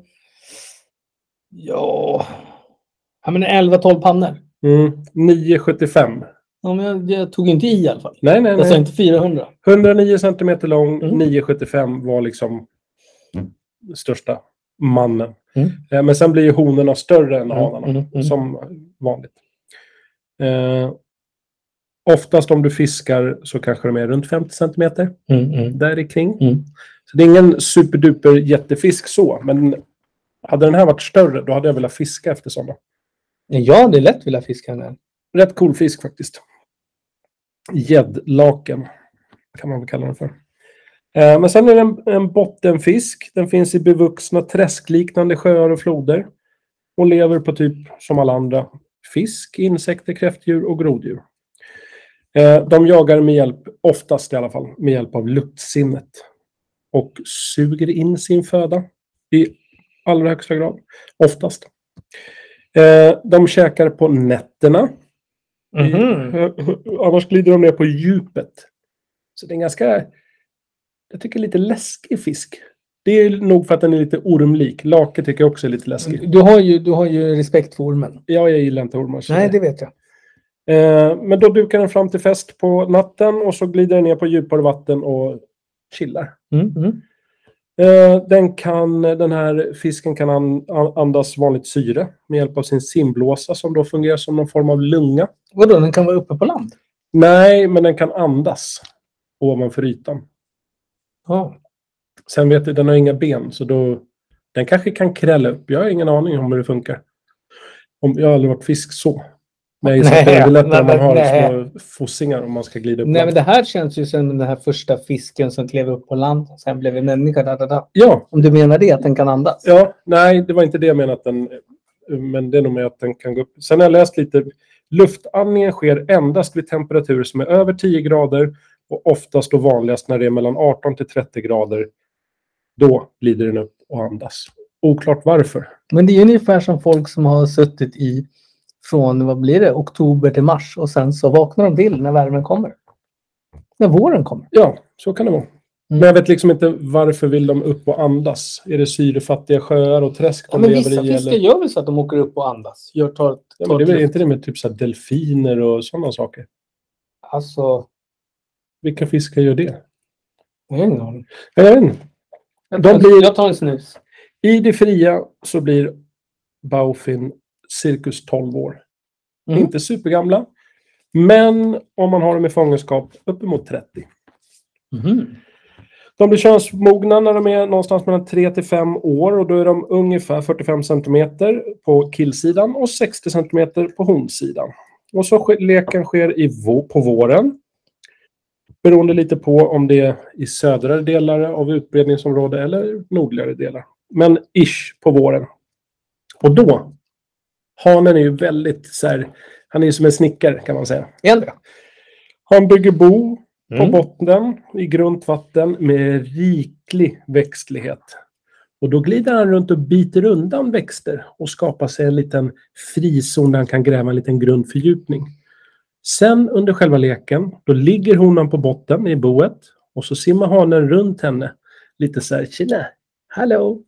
[SPEAKER 2] Ja... Ja, men 11-12 pannor.
[SPEAKER 3] Mm, 9,75.
[SPEAKER 2] Ja, men jag, jag tog inte i i alla fall.
[SPEAKER 3] Nej, nej,
[SPEAKER 2] Jag sa
[SPEAKER 3] nej.
[SPEAKER 2] inte 400.
[SPEAKER 3] 109 centimeter lång,
[SPEAKER 2] Mm.
[SPEAKER 3] 9,75 var liksom största mannen.
[SPEAKER 2] Mm.
[SPEAKER 3] Eh, Men sen blir ju honorna större än hanarna,
[SPEAKER 2] Mm, mm, mm.
[SPEAKER 3] som vanligt. Eh, oftast om du fiskar så kanske de är runt 50 centimeter,
[SPEAKER 2] Mm, mm.
[SPEAKER 3] där i kring.
[SPEAKER 2] Mm.
[SPEAKER 3] Så det är ingen superduper jättefisk så, men hade den här varit större, då hade jag velat fiska efter sådana.
[SPEAKER 2] Ja, det är lätt vilja fiska den här.
[SPEAKER 3] Rätt cool fisk faktiskt. Gäddlaken kan man väl kalla den för. Eh, Men sen är det en, en bottenfisk. Den finns i bevuxna träskliknande sjöar och floder. Och lever på typ som alla andra fisk, insekter, kräftdjur och groddjur. Eh, De jagar med hjälp, oftast i alla fall, med hjälp av luktsinnet. Och suger in sin föda i allra högsta grad. Oftast. Eh, De käkar på nätterna.
[SPEAKER 2] Mhm.
[SPEAKER 3] Annars glider de ner på djupet. Så det är en ganska, jag tycker lite läskig fisk. Det är nog för att den är lite ormlik. Lake tycker jag också är lite läskig.
[SPEAKER 2] Du, har ju, du har ju respekt för ormen.
[SPEAKER 3] Ja, jag gillar inte ormar. så-
[SPEAKER 2] Nej, det vet jag.
[SPEAKER 3] Eh, men då dukar den fram till fest på natten och så glider den ner på djupare vatten och chillar.
[SPEAKER 2] Mm, mm.
[SPEAKER 3] Eh, den, kan, den här fisken kan an, an- andas vanligt syre med hjälp av sin simblåsa som då fungerar som någon form av lunga.
[SPEAKER 2] Vadå, den kan vara uppe på land?
[SPEAKER 3] Nej, men den kan andas ovanför ytan.
[SPEAKER 2] Ja.
[SPEAKER 3] Sen vet du, den har inga ben, så då... Den kanske kan krälla upp. Jag har ingen aning om hur det funkar. Om, jag har aldrig varit fisk så. Men jag gissar att det
[SPEAKER 2] Nej,
[SPEAKER 3] är lättare om
[SPEAKER 2] men-
[SPEAKER 3] man har
[SPEAKER 2] nej.
[SPEAKER 3] små fossingar om man ska glida upp.
[SPEAKER 2] Nej,
[SPEAKER 3] land.
[SPEAKER 2] men det här känns ju som den här första fisken som klev upp på land och sen blev en människa. Da, da, da.
[SPEAKER 3] Ja,
[SPEAKER 2] Om du menar det, att den kan andas?
[SPEAKER 3] ja, nej, det var inte det jag menade. Att den, men det är nog med att den kan gå upp. Sen har jag läst lite. Luftandningen sker endast vid temperaturer som är över 10 grader och oftast och vanligast när det är mellan 18 till 30 grader. Då glider den upp och andas. Oklart varför.
[SPEAKER 2] Men det är ju ungefär som folk som har suttit i från, vad blir det, oktober till mars och sen så vaknar de till när värmen kommer. När våren kommer.
[SPEAKER 3] Ja, så kan det
[SPEAKER 2] Mm.
[SPEAKER 3] vara. Men jag vet liksom inte varför vill de upp och andas? Är det syrefattiga sjöar och träsk de
[SPEAKER 2] Ja, men
[SPEAKER 3] lever
[SPEAKER 2] vissa
[SPEAKER 3] i?
[SPEAKER 2] fiskar
[SPEAKER 3] eller?
[SPEAKER 2] gör väl så att de åker upp och andas? Gör, tar, ett-
[SPEAKER 3] Ja,
[SPEAKER 2] tar
[SPEAKER 3] men det är väl
[SPEAKER 2] ett-
[SPEAKER 3] inte det med typ så här delfiner och sådana saker?
[SPEAKER 2] Alltså,
[SPEAKER 3] Vilka fiskar gör det?
[SPEAKER 2] jag har ingen aning.
[SPEAKER 3] Jag vet inte.
[SPEAKER 2] Jag
[SPEAKER 3] De
[SPEAKER 2] tar,
[SPEAKER 3] blir-
[SPEAKER 2] jag tar en snus.
[SPEAKER 3] I det fria så blir Baufin cirkus 12 år.
[SPEAKER 2] Mm.
[SPEAKER 3] Inte supergamla, men om man har dem i fångenskap uppemot 30.
[SPEAKER 2] Mhm.
[SPEAKER 3] De blir könsmogna när de är någonstans mellan 3 till 5 år och då är de ungefär 45 centimeter på killsidan och 60 centimeter på honsidan. Och så sker- leken sker i vå- på våren. Beroende lite på om det är i södra delar av utbredningsområdet eller nordligare delar. Men ish på våren. Och då, hanen är ju väldigt så här, han är ju som en snickare kan man säga.
[SPEAKER 2] Är det?
[SPEAKER 3] Han bygger bo på
[SPEAKER 2] Mm.
[SPEAKER 3] botten i grunt vatten med riklig växtlighet. Och då glider han runt och biter undan växter och skapar sig en liten frizon där han kan gräva en liten grundfördjupning. Sen under själva leken, då ligger honan på botten i boet och så simmar hanen runt henne. Lite så här, tjena, hallå.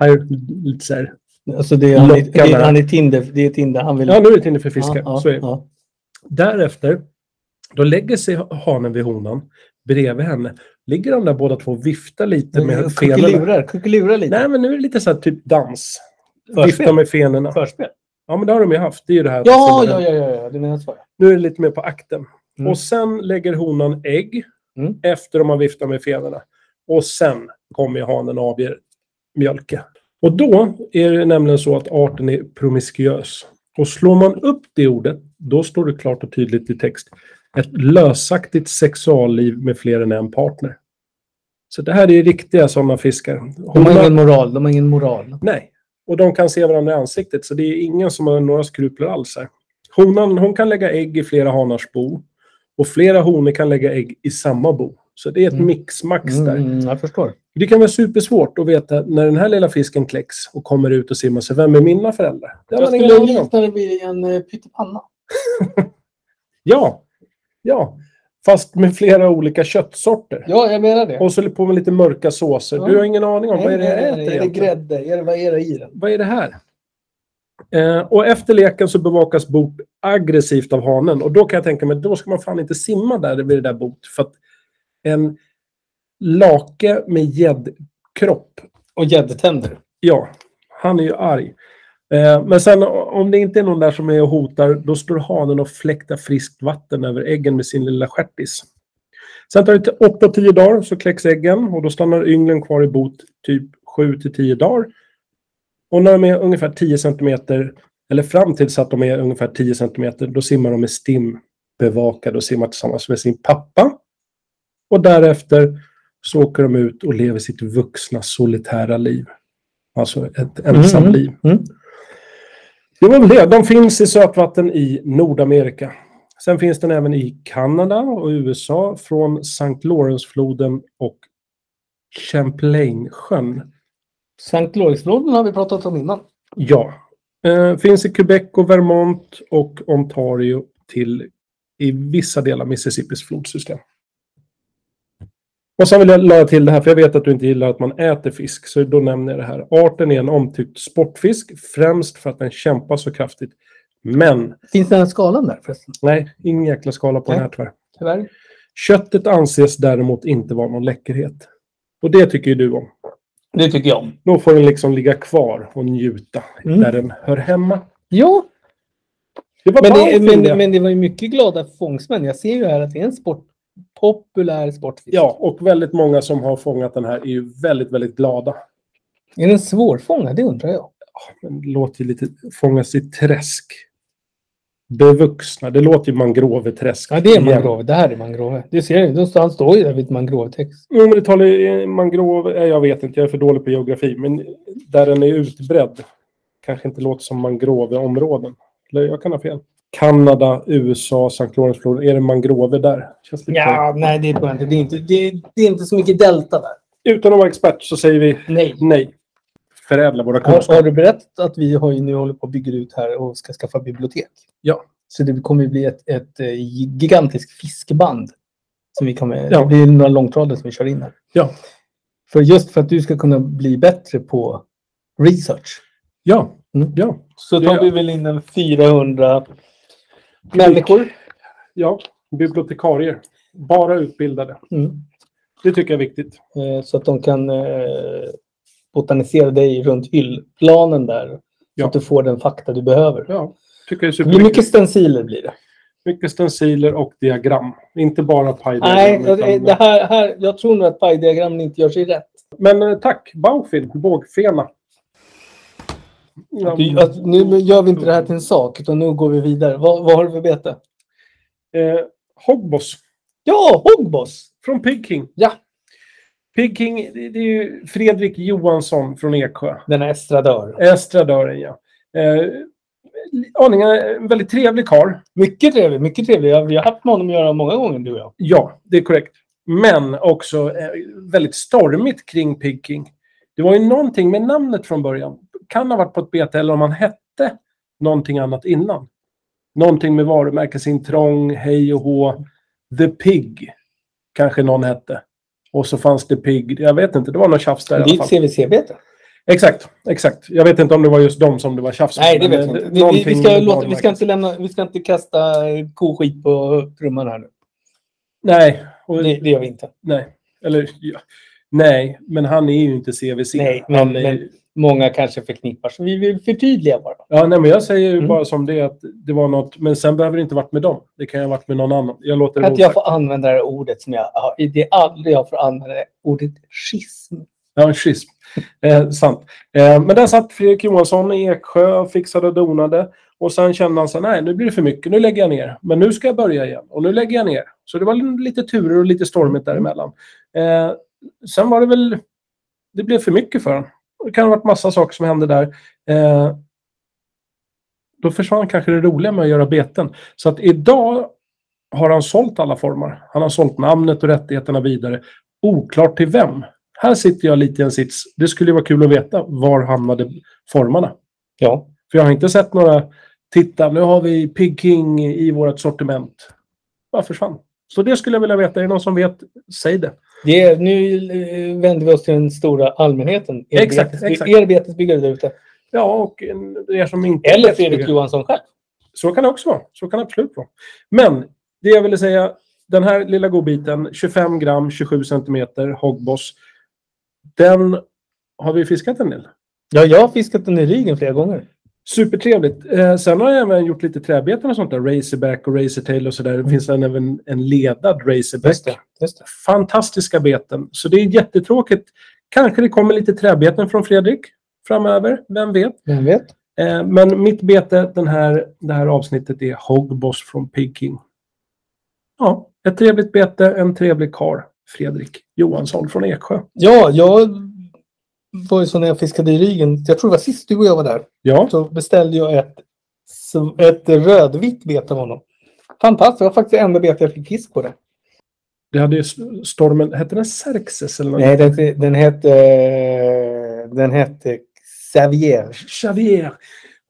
[SPEAKER 3] Här, lite så här.
[SPEAKER 2] Alltså det är, han, är, det
[SPEAKER 3] Lockande.
[SPEAKER 2] är, han är Tinder. Det är Tinder. Han vill...
[SPEAKER 3] Ja, nu är det ett hinder för fiskar.
[SPEAKER 2] Ja,
[SPEAKER 3] så är det.
[SPEAKER 2] ja.
[SPEAKER 3] Därefter, då lägger sig hanen vid honan bredvid henne. Ligger de där båda två och viftar lite
[SPEAKER 2] Mm,
[SPEAKER 3] med fenorna.
[SPEAKER 2] Kuckelurar, kuckelurar lite.
[SPEAKER 3] Nej, men nu är det lite så här typ dans.
[SPEAKER 2] Förspel.
[SPEAKER 3] Vifta med fenorna.
[SPEAKER 2] Förspel.
[SPEAKER 3] Ja, men det har de ju haft. Det är ju det här. att
[SPEAKER 2] Ja,
[SPEAKER 3] simma
[SPEAKER 2] ja,
[SPEAKER 3] runt.
[SPEAKER 2] ja, ja, ja, det menar jag svarar.
[SPEAKER 3] Nu är det lite mer på akten.
[SPEAKER 2] Mm.
[SPEAKER 3] Och sen lägger honan ägg
[SPEAKER 2] Mm.
[SPEAKER 3] efter de har viftat med fenorna. Och sen kommer ju hanen och avger mjölke. Och då är det nämligen så att arten är promiskuös. Och slår man upp det ordet, då står det klart och tydligt i text. Ett lösaktigt sexualliv med fler än en partner. Så det här är ju riktiga sådana fiskar.
[SPEAKER 2] De har
[SPEAKER 3] Honan-
[SPEAKER 2] ingen moral. De har ingen moral.
[SPEAKER 3] Nej, och de kan se varandra i ansiktet så det är ingen som har några skrupler alls här. Honan hon kan lägga ägg i flera hanars bo och flera honor kan lägga ägg i samma bo. Så det är ett
[SPEAKER 2] Mm.
[SPEAKER 3] mixmax där.
[SPEAKER 2] Mm, jag förstår.
[SPEAKER 3] Det kan vara supersvårt att veta när den här lilla fisken kläcks och kommer ut och simmar sig. Vem är mina föräldrar? Det har
[SPEAKER 2] Jag
[SPEAKER 3] man ingen
[SPEAKER 2] skulle
[SPEAKER 3] aning om.
[SPEAKER 2] likna det vid en eh, pyttipanna.
[SPEAKER 3] Ja, ja. Fast med flera olika köttsorter.
[SPEAKER 2] Ja, jag menar det.
[SPEAKER 3] Och så på med lite mörka såser.
[SPEAKER 2] Ja.
[SPEAKER 3] Du har ingen aning om
[SPEAKER 2] Nej,
[SPEAKER 3] vad är det jag
[SPEAKER 2] nej,
[SPEAKER 3] äter
[SPEAKER 2] nej, Är det
[SPEAKER 3] egentligen?
[SPEAKER 2] grädde? Är det, vad är det i den?
[SPEAKER 3] vad är det här? Eh, och efter leken så bevakas bot aggressivt av hanen. Och då kan jag tänka mig, då ska man fan inte simma där vid det där bot. För att en lake med gäddkropp,
[SPEAKER 2] Och gäddtänder.
[SPEAKER 3] ja, han är ju arg. Eh, men sen o- om det inte är någon där som är och hotar, då står hanen och fläktar friskt vatten över äggen med sin lilla stjärtis. Sen tar det 8-10 dagar så kläcks äggen och då stannar ynglen kvar i bot typ 7-10 dagar. Och när de är ungefär 10 centimeter, eller fram tills att de är ungefär 10 centimeter, då simmar de med stim bevakade och simmar tillsammans med sin pappa. Och därefter så åker de ut och lever sitt vuxna solitära liv. Alltså ett ensamliv.
[SPEAKER 2] Mm.
[SPEAKER 3] Det var väl det. De finns i sötvatten i Nordamerika. Sen finns den även i Kanada och USA från St. Lawrence-floden och Champlain-sjön.
[SPEAKER 2] Sankt Lorentzbloden har vi pratat om innan.
[SPEAKER 3] Ja. Eh, finns i Quebec och Vermont och Ontario till i vissa delar Mississippis flodsystem. Och sen vill jag lägga till det här, för jag vet att du inte gillar att man äter fisk, så då nämner jag det här. Arten är en omtyckt sportfisk, främst för att den kämpar så kraftigt. Men
[SPEAKER 2] Finns den här skalan där förresten?
[SPEAKER 3] Nej, ingen jäkla skala på
[SPEAKER 2] Nej.
[SPEAKER 3] den här tyvärr.
[SPEAKER 2] Tyvärr.
[SPEAKER 3] Köttet anses däremot inte vara någon läckerhet. Och det tycker ju du om.
[SPEAKER 2] Det tycker jag om.
[SPEAKER 3] Då får den liksom ligga kvar och njuta
[SPEAKER 2] Mm.
[SPEAKER 3] där den hör hemma.
[SPEAKER 2] Ja,
[SPEAKER 3] Det var
[SPEAKER 2] men
[SPEAKER 3] ballt,
[SPEAKER 2] det,
[SPEAKER 3] men,
[SPEAKER 2] men, men det var ju mycket glada fångsmän. Jag ser ju här att det är en sport, populär sportfisk.
[SPEAKER 3] Ja, och väldigt många som har fångat den här är ju väldigt, väldigt glada.
[SPEAKER 2] Är den svårfångad? Det undrar jag.
[SPEAKER 3] Den låter ju lite fångas i träsk. Bevuxna. Det låter ju mangroveträsk.
[SPEAKER 2] Ja, det är mangrove. Det här är mangrove. Du ser ju, då står- han står ju där vid ett mangrovetäcke.
[SPEAKER 3] Jo, men det talar ju- mangrove. eh, Jag vet inte, jag är för dålig på geografi. Men där den är utbredd kanske inte låter som mangroveområden. Eller jag kan ha fel. Kanada, USA, Sankt Lawrencefloden. Är det mangrove där? Känns lite...
[SPEAKER 2] Ja, nej det tror jag inte. Det är inte, det, det är inte så mycket delta där.
[SPEAKER 3] Utan att vara expert så säger vi
[SPEAKER 2] Nej.
[SPEAKER 3] nej. Förädla våra
[SPEAKER 2] Har, har
[SPEAKER 3] kunskaper.
[SPEAKER 2] du berättat att vi har ju nu håller på och bygger ut här och ska skaffa bibliotek?
[SPEAKER 3] Ja.
[SPEAKER 2] Så det kommer ju bli ett, ett, eh, gigantiskt fiskband. Som vi kommer,
[SPEAKER 3] Ja.
[SPEAKER 2] Det blir några långtradare som vi kör in här.
[SPEAKER 3] Ja.
[SPEAKER 2] För just för att du ska kunna bli bättre på research.
[SPEAKER 3] Ja.
[SPEAKER 2] Mm.
[SPEAKER 3] ja.
[SPEAKER 2] Så tar
[SPEAKER 3] Ja.
[SPEAKER 2] vi väl in en 400 människor.
[SPEAKER 3] Ja. Bibliotekarier. Bara utbildade.
[SPEAKER 2] Mm.
[SPEAKER 3] Det tycker jag är viktigt.
[SPEAKER 2] Eh, Så att de kan eh, botanisera dig runt hyllplanen där. Så
[SPEAKER 3] Ja.
[SPEAKER 2] att du får den fakta du behöver.
[SPEAKER 3] Ja. Tycker jag
[SPEAKER 2] Det
[SPEAKER 3] är
[SPEAKER 2] blir
[SPEAKER 3] superviktigt.
[SPEAKER 2] mycket stenciler blir det.
[SPEAKER 3] Mycket stenciler och diagram. Inte bara
[SPEAKER 2] Nej,
[SPEAKER 3] pajdiagram.
[SPEAKER 2] det-
[SPEAKER 3] utan-
[SPEAKER 2] det här, här, jag tror nog att pajdiagrammen inte gör sig rätt.
[SPEAKER 3] Men eh, tack, Baufin, bågfena. Ja,
[SPEAKER 2] Du, att, nu gör vi inte det här till en sak, utan nu går vi vidare. Vad, vad har du för bete?
[SPEAKER 3] eh, Hogbos
[SPEAKER 2] Ja, Hogboss!
[SPEAKER 3] från Pig King.
[SPEAKER 2] Ja.
[SPEAKER 3] Pig King, det, det är ju Fredrik Johansson från Eksjö.
[SPEAKER 2] Den här estradör.
[SPEAKER 3] Estradören, ja. Eh, aningen, en väldigt trevlig karl.
[SPEAKER 2] Mycket trevlig, mycket trevlig. Jag- Vi har haft med honom att göra många gånger, du och jag.
[SPEAKER 3] Ja, det är korrekt. Men också eh, väldigt stormigt kring Pig King. Det var ju någonting med namnet från början. Kan ha varit på ett bete eller om han hette någonting annat innan. Någonting med varumärkesintrång, hej och hå. The Pig kanske någon hette. Och så fanns det Pig. Jag vet inte, det var något tjafs där
[SPEAKER 2] Det är
[SPEAKER 3] i alla
[SPEAKER 2] ett
[SPEAKER 3] fall.
[SPEAKER 2] CVC-bete.
[SPEAKER 3] Exakt, exakt. Jag vet inte om det var just dem som det var tjafs
[SPEAKER 2] Nej, det
[SPEAKER 3] men,
[SPEAKER 2] vet jag
[SPEAKER 3] eh,
[SPEAKER 2] inte. Vi, vi, vi,
[SPEAKER 3] någonting
[SPEAKER 2] ska
[SPEAKER 3] med
[SPEAKER 2] låta, vi, ska
[SPEAKER 3] varumärkes-
[SPEAKER 2] inte lämna, vi ska inte kasta eh, koskit på trumman här nu.
[SPEAKER 3] Nej, och,
[SPEAKER 2] Det, det gör vi inte.
[SPEAKER 3] nej. Eller, ja. nej, men han är ju inte CVC.
[SPEAKER 2] Nej,
[SPEAKER 3] Han
[SPEAKER 2] men-
[SPEAKER 3] är
[SPEAKER 2] men-
[SPEAKER 3] ju-
[SPEAKER 2] Många kanske förknippar, så vi vill förtydliga bara.
[SPEAKER 3] Ja, nej, men jag säger ju
[SPEAKER 2] Mm.
[SPEAKER 3] bara som det är att det var något, men sen behöver det inte varit med dem. Det kan ju ha varit med någon annan. Jag låter det
[SPEAKER 2] Att
[SPEAKER 3] vara
[SPEAKER 2] jag
[SPEAKER 3] osagt.
[SPEAKER 2] får använda det här ordet som jag har. Det är aldrig jag får använda det ordet schism.
[SPEAKER 3] Ja, en schism. Eh, sant. Eh, men där satt Fredrik Johansson i Eksjö och fixade och donade. Och sen kände han så här, nej nu blir det för mycket, nu lägger jag ner. Men nu ska jag börja igen och nu lägger jag ner. Så det var lite turer och lite stormigt däremellan. Eh, sen var det väl, det blev för mycket för honom. Det kan ha varit massa saker som hände där. Eh, då försvann kanske det roliga med att göra beten. Så att idag har han sålt alla former. Han har sålt namnet och rättigheterna vidare. Oklart till vem. Här sitter jag lite i en sits. Det skulle ju vara kul att veta var hamnade formarna.
[SPEAKER 2] Ja.
[SPEAKER 3] För jag har inte sett några, titta nu har vi Pig King i vårt sortiment. Bara försvann. Så det skulle jag vilja veta. Är det någon som vet, säg det.
[SPEAKER 2] Det är, nu eh, vänder vi oss till den stora allmänheten. Er
[SPEAKER 3] Exakt,
[SPEAKER 2] betesby-
[SPEAKER 3] exakt.
[SPEAKER 2] Er betesbyggare där ute.
[SPEAKER 3] Ja, och en- er som inte...
[SPEAKER 2] Eller Fredrik Johansson själv.
[SPEAKER 3] Så kan det också vara. Så kan det absolut vara. Men det jag ville säga, den här lilla godbiten, 25 gram, 27 centimeter, Hogboss. Den har vi fiskat en del.
[SPEAKER 2] Ja, jag har fiskat den i ryggen flera gånger.
[SPEAKER 3] Supertrevligt. Eh, sen har jag även gjort lite träbeten och sånt där. Racerback och racertail och sådär. Det finns en, även en ledad racerback.
[SPEAKER 2] Just det. Just det.
[SPEAKER 3] Fantastiska beten. Så det är jättetråkigt. Kanske det kommer lite träbeten från Fredrik framöver. Vem vet?
[SPEAKER 2] Vem vet?
[SPEAKER 3] Eh, men mitt bete den här, det här avsnittet är Hogboss från Pig King. Ja, ett trevligt bete, en trevlig kar. Fredrik Johansson från Eksjö.
[SPEAKER 2] Ja, jag var ju så när jag fiskade i ryggen. Jag tror det var sist du och jag var där.
[SPEAKER 3] Ja,
[SPEAKER 2] Så beställde jag ett, så- ett rödvitt bete av honom. Fantastiskt. Det var faktiskt det enda bete jag fick fisk på det.
[SPEAKER 3] det hade ju s- stormen... Hette den Xerxes eller något?
[SPEAKER 2] Nej, den, den hette... eh, Den hette Xavier.
[SPEAKER 3] Xavier.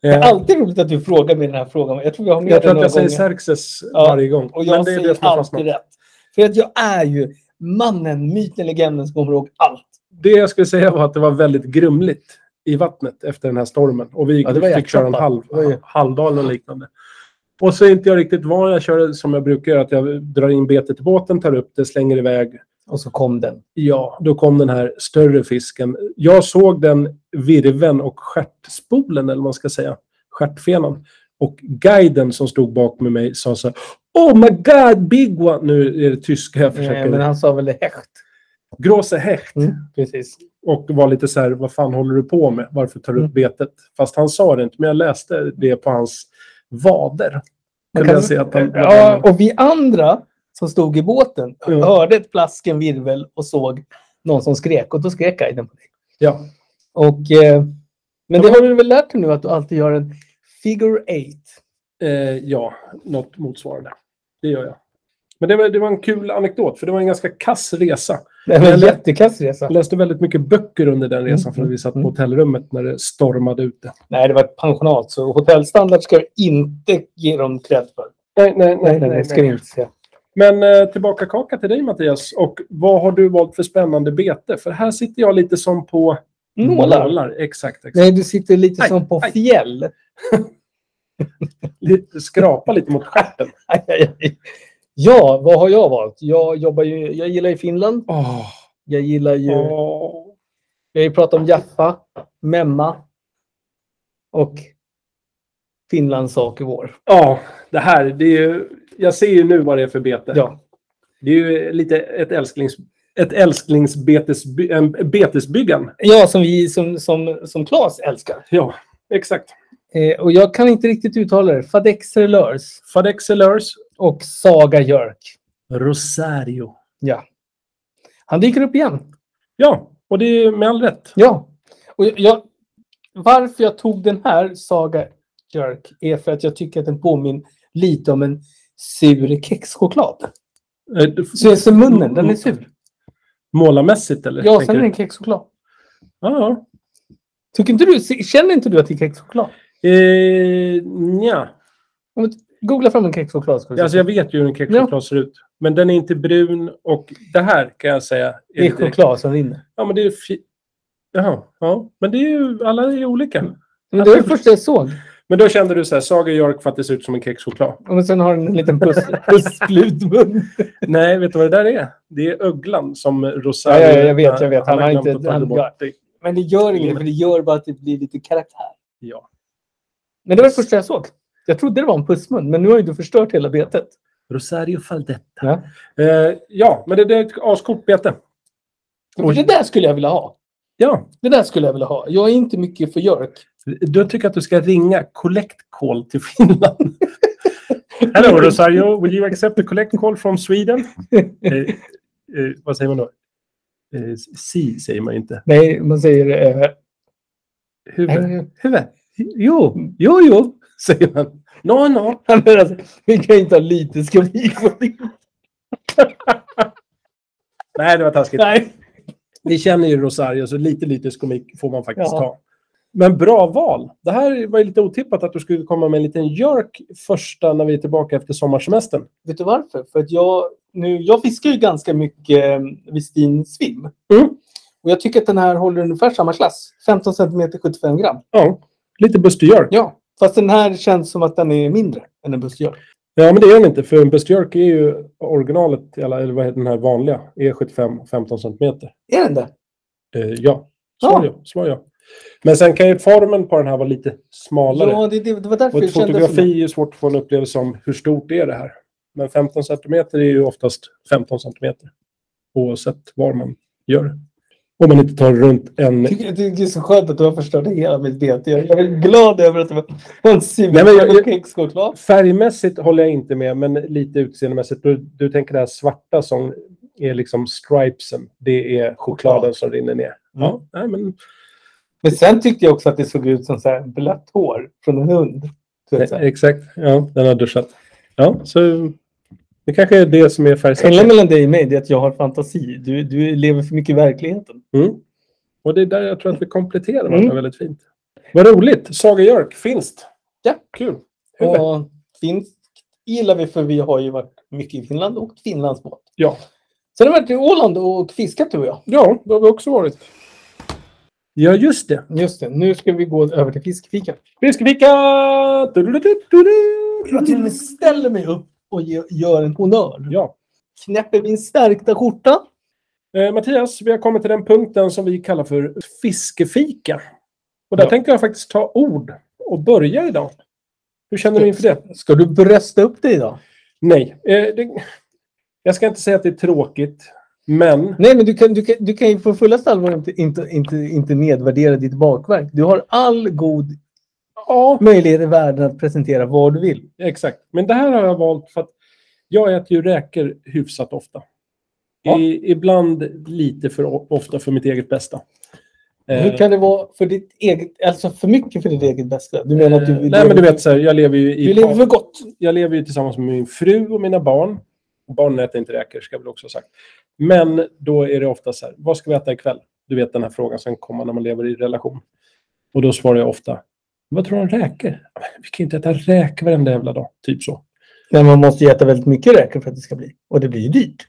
[SPEAKER 2] Det är
[SPEAKER 3] Eh,
[SPEAKER 2] alltid roligt att du frågar mig den här frågan. Jag tror jag har med
[SPEAKER 3] Jag tror
[SPEAKER 2] den
[SPEAKER 3] att
[SPEAKER 2] några
[SPEAKER 3] jag säger
[SPEAKER 2] gånger.
[SPEAKER 3] Xerxes
[SPEAKER 2] Ja,
[SPEAKER 3] varje gång.
[SPEAKER 2] Och jag
[SPEAKER 3] men det är
[SPEAKER 2] säger
[SPEAKER 3] det som har fastnat.
[SPEAKER 2] alltid rätt. För att jag är ju mannen, myten, legenden som kommer ihåg allt.
[SPEAKER 3] Det jag skulle säga var att det var väldigt grumligt i vattnet efter den här stormen. Och vi
[SPEAKER 2] Ja, det var
[SPEAKER 3] fick köra en
[SPEAKER 2] jäkla
[SPEAKER 3] halv,
[SPEAKER 2] Det var ju-
[SPEAKER 3] halvdal och liknande. Och så är inte jag riktigt van. Jag kör som jag brukar göra. Att jag drar in betet i båten, tar upp det, slänger iväg.
[SPEAKER 2] Och så kom den.
[SPEAKER 3] Ja, då kom den här större fisken. Jag såg den virven och stjärtspolen, eller vad man ska säga. Stjärtfenan. Och guiden som stod bakom mig sa så här. Oh my god, big one! Nu är det tyska jag försöker.
[SPEAKER 2] Eh, Men han sa väl det hecht.
[SPEAKER 3] Gråse Hecht
[SPEAKER 2] Mm. Precis.
[SPEAKER 3] och var lite så här, vad fan håller du på med? Varför tar du upp
[SPEAKER 2] Mm.
[SPEAKER 3] betet? Fast han sa det inte, men jag läste det på hans vader.
[SPEAKER 2] Man
[SPEAKER 3] Kunde
[SPEAKER 2] kan-
[SPEAKER 3] jag se att han...
[SPEAKER 2] Ja, och vi andra som stod i båten
[SPEAKER 3] Ja.
[SPEAKER 2] hörde ett plask, en virvel och såg någon som skrek. Och då skrek guiden på dig.
[SPEAKER 3] ja.
[SPEAKER 2] Och, eh, men det har du väl lärt dig nu att du alltid gör en figure eight.
[SPEAKER 3] Eh, ja, något motsvarande. Det gör jag. Men det var, det var en kul anekdot, för det var en ganska kass resa.
[SPEAKER 2] Det var en
[SPEAKER 3] Eller-
[SPEAKER 2] jättekass resa.
[SPEAKER 3] Jag läste väldigt mycket böcker under den resan,
[SPEAKER 2] Mm,
[SPEAKER 3] för att vi satt på
[SPEAKER 2] mm.
[SPEAKER 3] hotellrummet när det stormade ute.
[SPEAKER 2] Nej, det var ett pensionat. Så hotellstandard ska vi inte ge dem cred för.
[SPEAKER 3] Nej, nej,
[SPEAKER 2] Nej, nej, nej. Ska vi inte säga.
[SPEAKER 3] Men eh, tillbaka kaka till dig Mattias. Och vad har du valt för spännande bete? För här sitter jag lite som på
[SPEAKER 2] Nålar.
[SPEAKER 3] Exakt, exakt.
[SPEAKER 2] Nej, du sitter lite
[SPEAKER 3] Aj,
[SPEAKER 2] som på
[SPEAKER 3] aj.
[SPEAKER 2] fjäll.
[SPEAKER 3] lite, skrapa lite mot stjärten.
[SPEAKER 2] Aj, aj, aj. Ja, vad har jag valt? Jag, jobbar ju, jag gillar ju Finland.
[SPEAKER 3] Åh,
[SPEAKER 2] Jag gillar ju...
[SPEAKER 3] åh.
[SPEAKER 2] Vi har ju pratat om Jaffa, Memma och Finlands sak i vår.
[SPEAKER 3] Ja, det här. Det är ju, jag ser ju nu vad det är för bete.
[SPEAKER 2] Ja.
[SPEAKER 3] Det är ju lite ett, älsklings, ett älsklingsbetesby, en betesbyggan.
[SPEAKER 2] ja, som vi som, som, som Claes älskar.
[SPEAKER 3] Ja, exakt.
[SPEAKER 2] Eh, och jag kan inte riktigt uttala det. Fadexer Lörs
[SPEAKER 3] Fadexelers.
[SPEAKER 2] och Saga Jörk.
[SPEAKER 3] Rosario.
[SPEAKER 2] Ja. Han dyker upp igen.
[SPEAKER 3] Ja, och det är med all rätt.
[SPEAKER 2] Ja. Och jag- jag, varför jag tog den här Saga Jörk är för att jag tycker att den påminner lite om en sur kexchoklad.
[SPEAKER 3] Eh, du-
[SPEAKER 2] Så, så munnen, den är sur.
[SPEAKER 3] Målarmässigt eller?
[SPEAKER 2] Ja,
[SPEAKER 3] Mm. tänker
[SPEAKER 2] sen är
[SPEAKER 3] du?
[SPEAKER 2] den kexchoklad.
[SPEAKER 3] Ja,
[SPEAKER 2] Tycker inte du, känner inte du att det är kexchoklad?
[SPEAKER 3] ja. Eh, nja.
[SPEAKER 2] Om du- Googla fram en kexchoklad. Ska du se.
[SPEAKER 3] Alltså jag vet ju hur en kexchoklad ser ut. Men den är inte brun och det här kan jag säga. är
[SPEAKER 2] det är
[SPEAKER 3] lite-
[SPEAKER 2] choklad som vinner.
[SPEAKER 3] Ja, men det är... Fi- Jaha, ja. Men det är ju, alla är ju olika.
[SPEAKER 2] Men
[SPEAKER 3] Alltså-
[SPEAKER 2] det var det första jag såg.
[SPEAKER 3] Men då kände du så här, Saga Jörk fattar ser ut som en kexchoklad.
[SPEAKER 2] Och sen har den en liten puss, pusslutmun.
[SPEAKER 3] Nej, vet du vad det där är? Det är öglan som Rosario...
[SPEAKER 2] Ja, ja, jag vet, jag vet. Han har
[SPEAKER 3] glömt
[SPEAKER 2] inte-
[SPEAKER 3] att ta
[SPEAKER 2] han-
[SPEAKER 3] bort
[SPEAKER 2] ja.
[SPEAKER 3] det.
[SPEAKER 2] Men det gör inget, för det gör bara att det blir lite karaktär.
[SPEAKER 3] Mm. Ja.
[SPEAKER 2] Men det var det första jag såg. Jag trodde det var en pussmun, men nu har ju du förstört hela betet.
[SPEAKER 3] Rosario Faldetta.
[SPEAKER 2] Ja.
[SPEAKER 3] Eh, ja, men det, det är ett ascoolt bete.
[SPEAKER 2] För det där skulle jag vilja ha.
[SPEAKER 3] Ja,
[SPEAKER 2] Det där skulle jag vilja ha. Jag är inte mycket för Jörk.
[SPEAKER 3] då tycker jag att du ska ringa collect call till Finland. Hello Rosario, will you accept a collect call from Sweden? Eh, eh, vad säger man då? Eh, si säger man inte.
[SPEAKER 2] Nej, man säger... Eh,
[SPEAKER 3] Huvud.
[SPEAKER 2] nej,
[SPEAKER 3] Huvud. Jo, jo, jo, säger man. No, no.
[SPEAKER 2] men alltså, vi kan ju inte ha lite skrik på det.
[SPEAKER 3] Nej, det var taskigt.
[SPEAKER 2] Nej.
[SPEAKER 3] Vi känner ju Rosario, så lite lytisk komik får man faktiskt
[SPEAKER 2] Ja.
[SPEAKER 3] ta. Men bra val. Det här var ju lite otippat att du skulle komma med en liten jerk första när vi är tillbaka efter sommarsemestern.
[SPEAKER 2] Vet du varför? För att jag, nu, jag fiskar ju ganska mycket eh, Westin Swim.
[SPEAKER 3] Mm.
[SPEAKER 2] Och jag tycker att den här håller ungefär samma klass. 15 cm 75 gram.
[SPEAKER 3] Ja, lite Buster Jerk.
[SPEAKER 2] Ja, fast den här känns som att den är mindre än en buskjörn.
[SPEAKER 3] Ja, men det är den inte. För en bestjörk är ju originalet, eller eller vad heter den här vanliga, E75 15 centimeter.
[SPEAKER 2] Är den det?
[SPEAKER 3] Eh, ja, slår
[SPEAKER 2] Ja.
[SPEAKER 3] jag. Slår jag. Men sen kan ju formen på den här vara lite smalare.
[SPEAKER 2] Ja, det, det, det var därför
[SPEAKER 3] och
[SPEAKER 2] jag
[SPEAKER 3] ett
[SPEAKER 2] kände...
[SPEAKER 3] fotografi är ju svårt att få en upplevelse om hur stort är det här. Men 15 centimeter är ju oftast 15 centimeter. Oavsett vad man gör. Om man inte tar runt en...
[SPEAKER 2] Jag tycker, jag tycker det är så skönt att du har förstört hela mitt bete. Jag, jag är glad över att det var var en
[SPEAKER 3] Nej, men jag- jag-
[SPEAKER 2] silverkexchoklad.
[SPEAKER 3] Färgmässigt håller jag inte med, men lite utseendemässigt. Du, du tänker det här svarta som är liksom stripesen. Det är chokladen som rinner
[SPEAKER 2] Mm.
[SPEAKER 3] ner. Ja, nej, men
[SPEAKER 2] Men sen tyckte jag också att det såg ut som så här blött hår från en hund. Du vet, så här.
[SPEAKER 3] Exakt, ja, den har duschat. Ja, så det kanske är det som är
[SPEAKER 2] Skillnaden
[SPEAKER 3] färgsättningen.
[SPEAKER 2] mellan dig och mig det är att jag har fantasi. Du, du lever för mycket i verkligheten.
[SPEAKER 3] Mm. Och det är där jag tror att vi kompletterar varandra
[SPEAKER 2] Mm.
[SPEAKER 3] väldigt fint. Vad roligt! Saga Jörk, finst.
[SPEAKER 2] Ja.
[SPEAKER 3] Kul. Huvud.
[SPEAKER 2] Och finsk gillar vi för vi har ju varit mycket i Finland och Finlandsbåt.
[SPEAKER 3] Ja.
[SPEAKER 2] Sen har vi varit i Åland och fiskat du och jag.
[SPEAKER 3] ja, det har vi också varit. Ja, just det.
[SPEAKER 2] Just det, nu ska vi gå över till fiskfika.
[SPEAKER 3] Fiskevika!
[SPEAKER 2] Jag till och med ställer mig upp och ge- gör en honnör.
[SPEAKER 3] Ja.
[SPEAKER 2] Knäpper min stärkta skjorta.
[SPEAKER 3] Eh, Mattias, vi har kommit till den punkten som vi kallar för fiskefika. Och där
[SPEAKER 2] Ja.
[SPEAKER 3] tänkte jag faktiskt ta ord och börja idag. Hur känner du inför det?
[SPEAKER 2] Ska du brösta upp dig idag?
[SPEAKER 3] Nej. Eh, det, jag ska inte säga att det är tråkigt, men
[SPEAKER 2] Nej, men du kan, du kan, du kan ju på fullaste allvar inte, inte, inte, inte nedvärdera ditt bakverk. Du har all god
[SPEAKER 3] ja,
[SPEAKER 2] möjlighet i världen att presentera vad du vill.
[SPEAKER 3] exakt. Men det här har jag valt för att jag äter ju räkor hyfsat ofta.
[SPEAKER 2] Ja.
[SPEAKER 3] I, ibland lite för o- ofta för mitt eget bästa. Eh,
[SPEAKER 2] Hur kan det vara för ditt eget, alltså för mycket för ditt eget bästa? Du menar att du,
[SPEAKER 3] eh, nej, men du vet, så här, jag lever ju i...
[SPEAKER 2] du lever för gott.
[SPEAKER 3] jag lever ju tillsammans med min fru och mina barn. Barnen äter inte räkor, ska jag väl också ha sagt. Men då är det ofta så här, vad ska vi äta ikväll? Du vet den här frågan som kommer när man lever i relation. Och då svarar jag ofta, vad tror du om räkor? Vi kan ju inte äta räkor varenda jävla dag, typ så.
[SPEAKER 2] Men man måste ju äta väldigt mycket räkor för att det ska bli. Och det blir ju dyrt.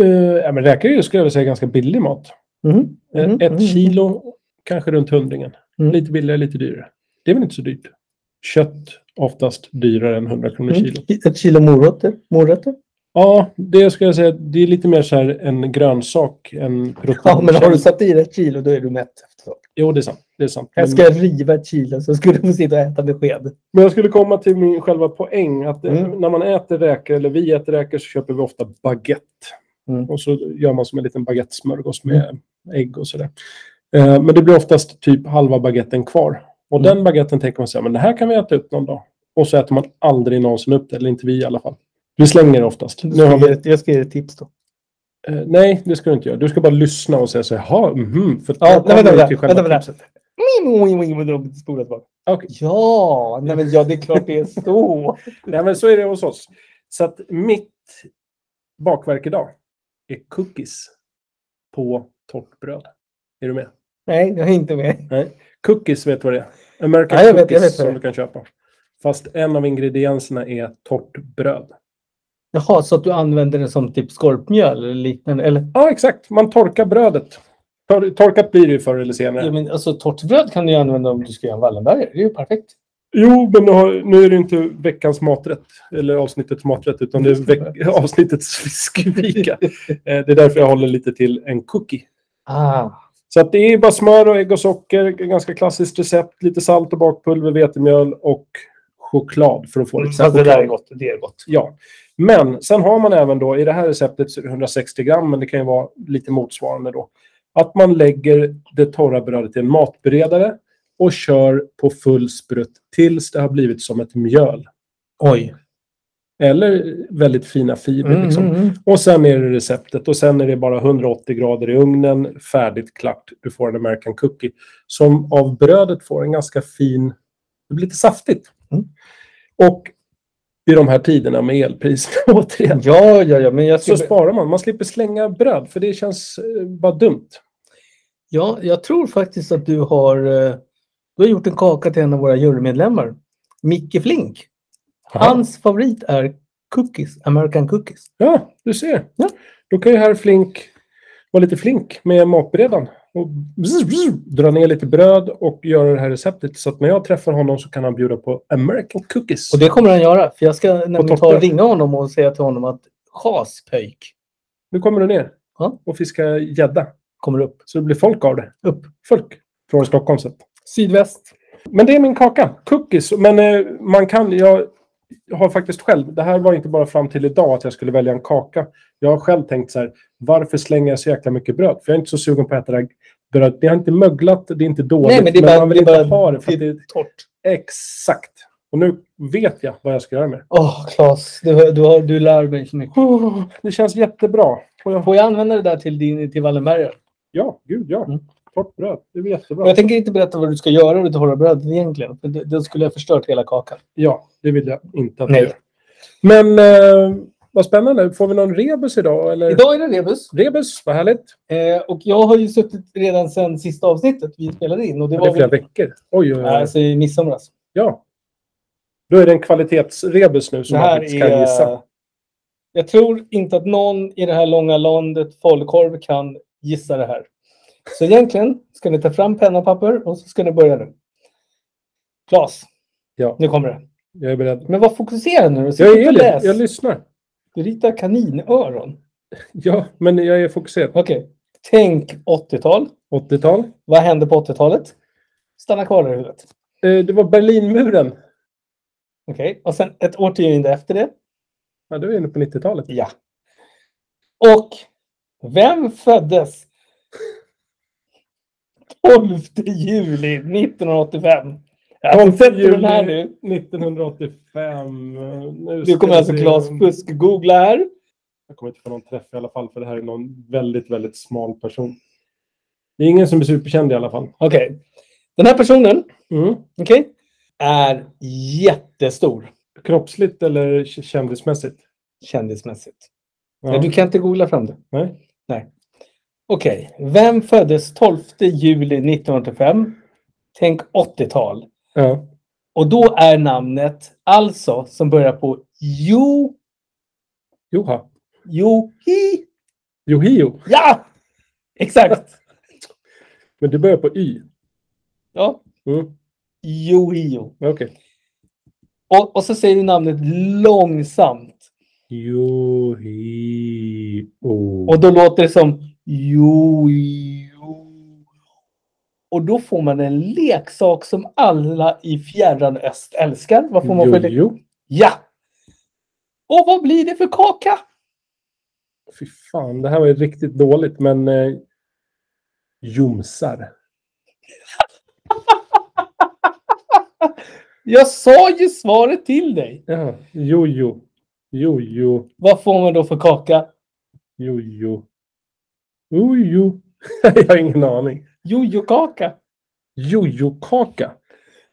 [SPEAKER 3] Uh, ja, men räkor är ju, skulle jag vilja säga, ganska billig mat.
[SPEAKER 2] Mhm.
[SPEAKER 3] Eh,
[SPEAKER 2] Mhm.
[SPEAKER 3] Ett kilo, kanske runt hundringen.
[SPEAKER 2] Mm.
[SPEAKER 3] Lite billigare, lite dyrare. Det är väl inte så dyrt? Kött, oftast dyrare än 100 kronor
[SPEAKER 2] Mm.
[SPEAKER 3] kilo.
[SPEAKER 2] Ett kilo morötter. morötter.
[SPEAKER 3] Ja, det ska jag säga. Det är lite mer så här en grönsak än protein.
[SPEAKER 2] Ja, men har du satt i dig ett kilo då är du mätt. så.
[SPEAKER 3] Jo, det är sant. Det är sant.
[SPEAKER 2] Jag
[SPEAKER 3] Men,
[SPEAKER 2] ska riva Chile så ska du få sitta och äta med sked.
[SPEAKER 3] men jag skulle komma till min själva poäng. Att eh,
[SPEAKER 2] Mm.
[SPEAKER 3] När man äter räkor, eller vi äter räkor, så köper vi ofta baguette.
[SPEAKER 2] Mm.
[SPEAKER 3] Och så gör man som en liten baguettesmörgås med ägg och sådär. Eh, men det blir oftast typ halva baguetten kvar. Och
[SPEAKER 2] Mm.
[SPEAKER 3] den baguetten tänker man säga, men det här kan vi äta upp någon dag. Och så äter man aldrig någonsin upp det, eller inte vi i alla fall. Vi slänger det oftast. Nu har
[SPEAKER 2] Jag ska,
[SPEAKER 3] vi
[SPEAKER 2] ge, jag ska ge dig tips då.
[SPEAKER 3] Eh, nej, det ska du inte göra. Du ska bara lyssna och säga så här, jaha, mhm. För
[SPEAKER 2] Ja,
[SPEAKER 3] då
[SPEAKER 2] nej,
[SPEAKER 3] kommer
[SPEAKER 2] vänta,
[SPEAKER 3] vi
[SPEAKER 2] vänta,
[SPEAKER 3] till själva
[SPEAKER 2] vänta, vänta.
[SPEAKER 3] tipset.
[SPEAKER 2] Spola tillbaka.
[SPEAKER 3] Okej.
[SPEAKER 2] Ja, nej men ja, det är klart det är så.
[SPEAKER 3] Nej, men så är det hos oss. Så att mitt bakverk idag är cookies på torrt bröd. Är du med?
[SPEAKER 2] Nej, jag är inte med.
[SPEAKER 3] Cookies, vet du vad det är? American
[SPEAKER 2] Ja, jag vet, jag
[SPEAKER 3] cookies
[SPEAKER 2] vet vad det
[SPEAKER 3] som
[SPEAKER 2] är.
[SPEAKER 3] du kan köpa. Fast en av ingredienserna är torrt bröd.
[SPEAKER 2] Jaha, så att du använder det som typ skorpmjöl eller liknande? Eller?
[SPEAKER 3] Ja, exakt. Man torkar brödet. Tor- Torkat blir det ju förr eller senare.
[SPEAKER 2] Ja, men alltså torrt bröd kan du ju använda om du ska göra en Wallenbergare. Det är ju perfekt.
[SPEAKER 3] Jo, men nu, har, nu är det inte veckans maträtt, eller avsnittets maträtt, utan det är veck- avsnittets fiskfika. Eh, Det är därför jag håller lite till en cookie.
[SPEAKER 2] Ah,
[SPEAKER 3] Så att det är bara smör och ägg och socker, ganska klassiskt recept, lite salt och bakpulver, vetemjöl och choklad för att få lite
[SPEAKER 2] fast Mm, det där är
[SPEAKER 3] choklad.
[SPEAKER 2] gott. Det är gott.
[SPEAKER 3] Ja. Men sen har man även då, i det här receptet så är det 160 gram, men det kan ju vara lite motsvarande då. Att man lägger det torra brödet i en matberedare och kör på full sprutt tills det har blivit som ett mjöl.
[SPEAKER 2] Oj.
[SPEAKER 3] Eller väldigt fina fibrer.
[SPEAKER 2] Mm,
[SPEAKER 3] Liksom.
[SPEAKER 2] mm, mm.
[SPEAKER 3] Och sen är det receptet och sen är det bara 180 grader i ugnen, färdigt, klart. Du får en American cookie som av brödet får en ganska fin, det blir lite saftigt.
[SPEAKER 2] Mm.
[SPEAKER 3] Och i de här tiderna med elpriserna återigen,
[SPEAKER 2] Ja, ja, ja, men jag
[SPEAKER 3] så
[SPEAKER 2] ska...
[SPEAKER 3] sparar man. Man slipper slänga bröd för det känns eh, bara dumt.
[SPEAKER 2] Ja, jag tror faktiskt att du har, eh, du har gjort en kaka till en av våra jurymedlemmar. Micke Flink. Hans favorit är cookies, American cookies.
[SPEAKER 3] Ja, du ser.
[SPEAKER 2] Ja.
[SPEAKER 3] Då kan ju herr Flink vara lite flink med matberedaren. Och bzz, bzz, dra ner lite bröd och göra det här receptet. Så att när jag träffar honom så kan han bjuda på American cookies.
[SPEAKER 2] Och det kommer han göra. För jag ska nämligen ta och
[SPEAKER 3] torkar.
[SPEAKER 2] ringa honom och säga till honom att chas pöjk
[SPEAKER 3] Nu kommer du ner
[SPEAKER 2] Ja.
[SPEAKER 3] och fiskar gädda.
[SPEAKER 2] kommer upp.
[SPEAKER 3] Så det blir folk av det.
[SPEAKER 2] Upp.
[SPEAKER 3] Folk från Stockholm. Så. att-
[SPEAKER 2] Sydväst.
[SPEAKER 3] Men det är min kaka. Cookies. Men eh, man kan... Jag har faktiskt själv... Det här var inte bara fram till idag att jag skulle välja en kaka. Jag har själv tänkt så här. Varför slänger jag så jäkla mycket bröd? För jag är inte så sugen på att äta det här brödet. Det har inte möglat. Det är inte dåligt.
[SPEAKER 2] Nej, men det är bara-
[SPEAKER 3] man vill
[SPEAKER 2] det är
[SPEAKER 3] inte
[SPEAKER 2] bara-
[SPEAKER 3] ha det. För att det är
[SPEAKER 2] Torrt.
[SPEAKER 3] exakt. Och nu vet jag vad jag ska göra med det.
[SPEAKER 2] Åh, Claes. Du, har- du, har, du lär mig så mycket.
[SPEAKER 3] Oh, det känns jättebra. Och jag,
[SPEAKER 2] Får jag använda det där till, din, till Wallenbergare?
[SPEAKER 3] ja, gud ja.
[SPEAKER 2] Mm.
[SPEAKER 3] Torrt bröd. Det blir jättebra.
[SPEAKER 2] Och Jag tänker inte berätta vad du ska göra med det torra brödet egentligen. För det- då skulle jag förstört hela kakan.
[SPEAKER 3] Ja, det vill jag inte att
[SPEAKER 2] Nej.
[SPEAKER 3] du gör. Men eh, vad spännande. Får vi någon rebus idag? Eller?
[SPEAKER 2] Idag är det rebus.
[SPEAKER 3] Rebus, vad härligt.
[SPEAKER 2] Eh, och jag har ju suttit redan sedan sista avsnittet vi spelade in. Och det
[SPEAKER 3] Det
[SPEAKER 2] var
[SPEAKER 3] är flera
[SPEAKER 2] väl,
[SPEAKER 3] veckor. Oj, oj, oj.
[SPEAKER 2] alltså i midsomras.
[SPEAKER 3] Ja. Då är det en kvalitetsrebus nu som
[SPEAKER 2] det
[SPEAKER 3] man
[SPEAKER 2] här
[SPEAKER 3] faktiskt kan gissa.
[SPEAKER 2] är... eh, Jag tror inte att någon i det här långa landet falukorv kan gissa det här. Så egentligen ska ni ta fram penna och papper och så ska ni börja nu. Klas,
[SPEAKER 3] Ja,
[SPEAKER 2] nu kommer det.
[SPEAKER 3] jag är beredd.
[SPEAKER 2] Men var fokuserad nu. Sitt
[SPEAKER 3] Jag
[SPEAKER 2] inte
[SPEAKER 3] är
[SPEAKER 2] och
[SPEAKER 3] det.
[SPEAKER 2] läs.
[SPEAKER 3] Jag lyssnar.
[SPEAKER 2] Du ritar kaninöron.
[SPEAKER 3] Ja, men jag är fokuserad.
[SPEAKER 2] Okej. Tänk 80-tal.
[SPEAKER 3] 80-tal.
[SPEAKER 2] Vad hände på 80-talet? Stanna kvar där i huvudet.
[SPEAKER 3] Eh, det var Berlinmuren.
[SPEAKER 2] Okej. Och sen ett årtionde efter det.
[SPEAKER 3] Ja, du är inne på 90-talet.
[SPEAKER 2] Ja. Och vem föddes 12 juli 1985? Jag har
[SPEAKER 3] 12
[SPEAKER 2] sett den här
[SPEAKER 3] juli.
[SPEAKER 2] nu.
[SPEAKER 3] 1985. eh, Nu
[SPEAKER 2] Nu
[SPEAKER 3] ska
[SPEAKER 2] kommer
[SPEAKER 3] vi
[SPEAKER 2] alltså
[SPEAKER 3] se.
[SPEAKER 2] Claes fusk-googla här.
[SPEAKER 3] Jag kommer inte få någon träff i alla fall, för det här är någon väldigt, väldigt smal person. Det är ingen som är superkänd i alla fall.
[SPEAKER 2] Okej. Den här personen
[SPEAKER 3] Mm.
[SPEAKER 2] okej, är jättestor
[SPEAKER 3] Kroppsligt eller k- kändismässigt?
[SPEAKER 2] kändismässigt.
[SPEAKER 3] Ja.
[SPEAKER 2] Ja, du kan inte googla fram det.
[SPEAKER 3] Nej.
[SPEAKER 2] Nej. Okej. Vem föddes 12 juli 1985? Tänk 80-tal.
[SPEAKER 3] ja.
[SPEAKER 2] Och då är namnet alltså som börjar på Jo...
[SPEAKER 3] Joha.
[SPEAKER 2] Johi.
[SPEAKER 3] Johio.
[SPEAKER 2] Ja! Exakt!
[SPEAKER 3] Men det börjar på Y.
[SPEAKER 2] Ja.
[SPEAKER 3] Mm.
[SPEAKER 2] Johio.
[SPEAKER 3] Okej. Okay.
[SPEAKER 2] Och, och så säger du namnet långsamt.
[SPEAKER 3] Johio.
[SPEAKER 2] Och då låter det som Jo... Jo. Och då får man en leksak som alla i fjärran öst älskar. Vad får man för det?
[SPEAKER 3] Jojo.
[SPEAKER 2] Ja! Och vad blir det för kaka?
[SPEAKER 3] Fy fan, det här var ju riktigt dåligt, men... Eh, jomsar.
[SPEAKER 2] Jag sa ju svaret till dig.
[SPEAKER 3] Ja, jojo. Jojo.
[SPEAKER 2] Vad får man då för kaka?
[SPEAKER 3] Jojo. Jojo. Jag har ingen aning.
[SPEAKER 2] Jojokaka.
[SPEAKER 3] Jojokaka.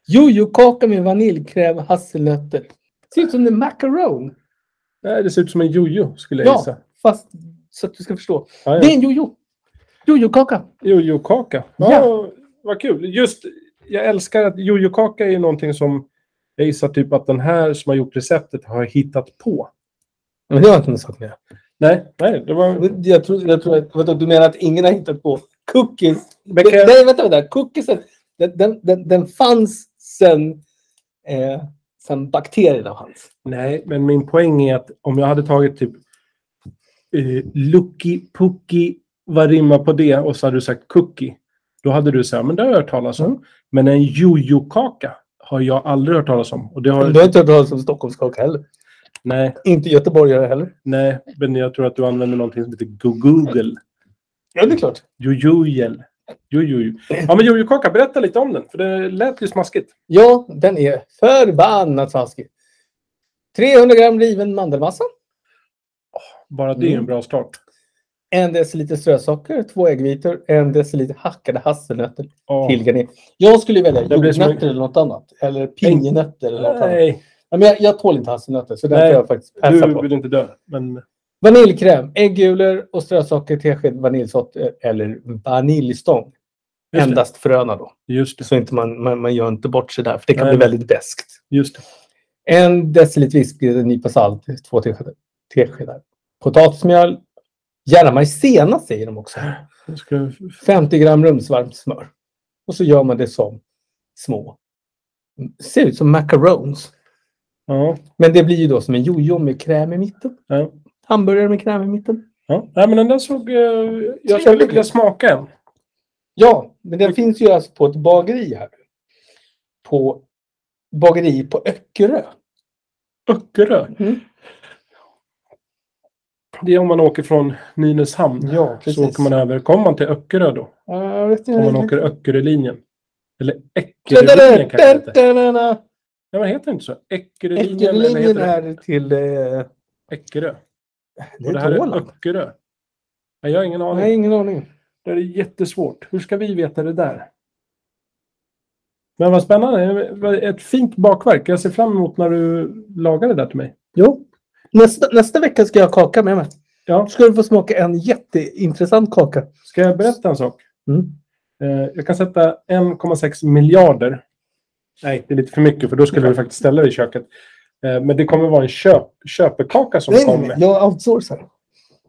[SPEAKER 2] Jojokaka med vaniljkräm, hasselnötter. Ser ut som en macaron.
[SPEAKER 3] Nej, Det ser ut som en jojo, skulle jag
[SPEAKER 2] Ja,
[SPEAKER 3] gissa.
[SPEAKER 2] fast så att du ska förstå.
[SPEAKER 3] Ja, ja.
[SPEAKER 2] Det är en jojo. Jojokaka.
[SPEAKER 3] Jojo-kaka. Ja.
[SPEAKER 2] Ja.
[SPEAKER 3] vad kul. Just, jag älskar att jojo-kaka är någonting som jag gissar typ att den här som har gjort receptet har hittat på.
[SPEAKER 2] Men det har inte med saken att göra.
[SPEAKER 3] Nej, nej det var...
[SPEAKER 2] Jag tror, jag tror att, vadå, du menar att ingen har hittat på cookies?
[SPEAKER 3] Men kan jag-
[SPEAKER 2] Nej, vänta, vänta. Cookiesen, den, den, den, den fanns sen, eh, sen bakterierna fanns.
[SPEAKER 3] Nej, men min poäng är att om jag hade tagit typ eh, Lucky Pucky, vad rimmar på det? Och så hade du sagt Cookie. Då hade du sagt, men det har jag hört talas om. Men en jojo-kaka har jag aldrig hört talas om. Och det har...
[SPEAKER 2] Du har inte hört talas om Stockholmskaka heller.
[SPEAKER 3] Nej,
[SPEAKER 2] Inte göteborgare heller.
[SPEAKER 3] nej, men jag tror att du använder någonting som heter Google.
[SPEAKER 2] Ja, det är klart.
[SPEAKER 3] Jojojel. Jojojo. Ja, men jojokaka, berätta lite om den. För det lät ju smaskigt.
[SPEAKER 2] Ja, den är förbannat smaskig. 300 gram riven mandelmassa.
[SPEAKER 3] Bara det är ju
[SPEAKER 2] Mm.
[SPEAKER 3] en bra start.
[SPEAKER 2] En deciliter strösocker, två äggvitor, en deciliter hackade hasselnötter,
[SPEAKER 3] Ja.
[SPEAKER 2] tillgarnering. Jag skulle välja
[SPEAKER 3] Det blir som en-
[SPEAKER 2] jordnötter eller något annat. Eller pinjenötter eller något annat.
[SPEAKER 3] Nej,
[SPEAKER 2] Ja, men jag, jag tål inte hasselnötter, så den
[SPEAKER 3] Nej,
[SPEAKER 2] får jag faktiskt passa
[SPEAKER 3] du
[SPEAKER 2] på.
[SPEAKER 3] vill inte dö. Men
[SPEAKER 2] Vaniljkräm, äggulor och strösocker, tesked vaniljsort eller vaniljstång.
[SPEAKER 3] Just det.
[SPEAKER 2] Endast fröna då.
[SPEAKER 3] just det.
[SPEAKER 2] Så inte man, man, man gör inte bort sig där, för det kan
[SPEAKER 3] Nej.
[SPEAKER 2] bli väldigt beskt.
[SPEAKER 3] Just det.
[SPEAKER 2] En deciliter vispgrädde, en nypa salt, två teskedar- teskedar potatismjöl. Gärna maizena säger de också.
[SPEAKER 3] Jag ska
[SPEAKER 2] 50 gram rumsvarmt smör. Och så gör man det som små. Ser ut som macarons.
[SPEAKER 3] Ja.
[SPEAKER 2] Men det blir ju då som en jojo med kräm i mitten.
[SPEAKER 3] ja.
[SPEAKER 2] Hamburgare med kräm i mitten.
[SPEAKER 3] ja. Nej, men den där såg... eh, Jag skulle vilja smaka en.
[SPEAKER 2] Ja, men den finns ju alltså på ett bageri här. På bageri på Öckerö.
[SPEAKER 3] Öckerö.
[SPEAKER 2] Mm.
[SPEAKER 3] Det är om man åker från Nynäshamn.
[SPEAKER 2] Ja,
[SPEAKER 3] Så åker man över. Kommer man till Öckerö då?
[SPEAKER 2] Ja, vet
[SPEAKER 3] Om man
[SPEAKER 2] inte.
[SPEAKER 3] åker Öckerölinjen. Eller Eckerölinjen kanske det heter. Nej, men heter det inte så? Eckerölinjen. eller
[SPEAKER 2] Äckellinjen
[SPEAKER 3] heter det?
[SPEAKER 2] är till... Eh,
[SPEAKER 3] Eckerö.
[SPEAKER 2] det
[SPEAKER 3] Och
[SPEAKER 2] är
[SPEAKER 3] det här
[SPEAKER 2] till
[SPEAKER 3] är
[SPEAKER 2] Åland.
[SPEAKER 3] Öckerö. Nej, jag har ingen aning.
[SPEAKER 2] Nej, ingen aning.
[SPEAKER 3] Det är jättesvårt. Hur ska vi veta det där? Men vad spännande. Ett fint bakverk. Jag ser fram emot när du lagar det där till mig.
[SPEAKER 2] Jo. Nästa, nästa vecka ska jag ha kaka med mig.
[SPEAKER 3] Ja.
[SPEAKER 2] Då ska du få smaka en jätteintressant kaka.
[SPEAKER 3] Ska jag berätta en sak?
[SPEAKER 2] Mm.
[SPEAKER 3] Eh, Jag kan sätta 1,6 miljarder. Nej, det är lite för mycket för då skulle du faktiskt ställa det i köket. Eh, Men det kommer vara en köp, köpekaka som kommer
[SPEAKER 2] jag outsourcar.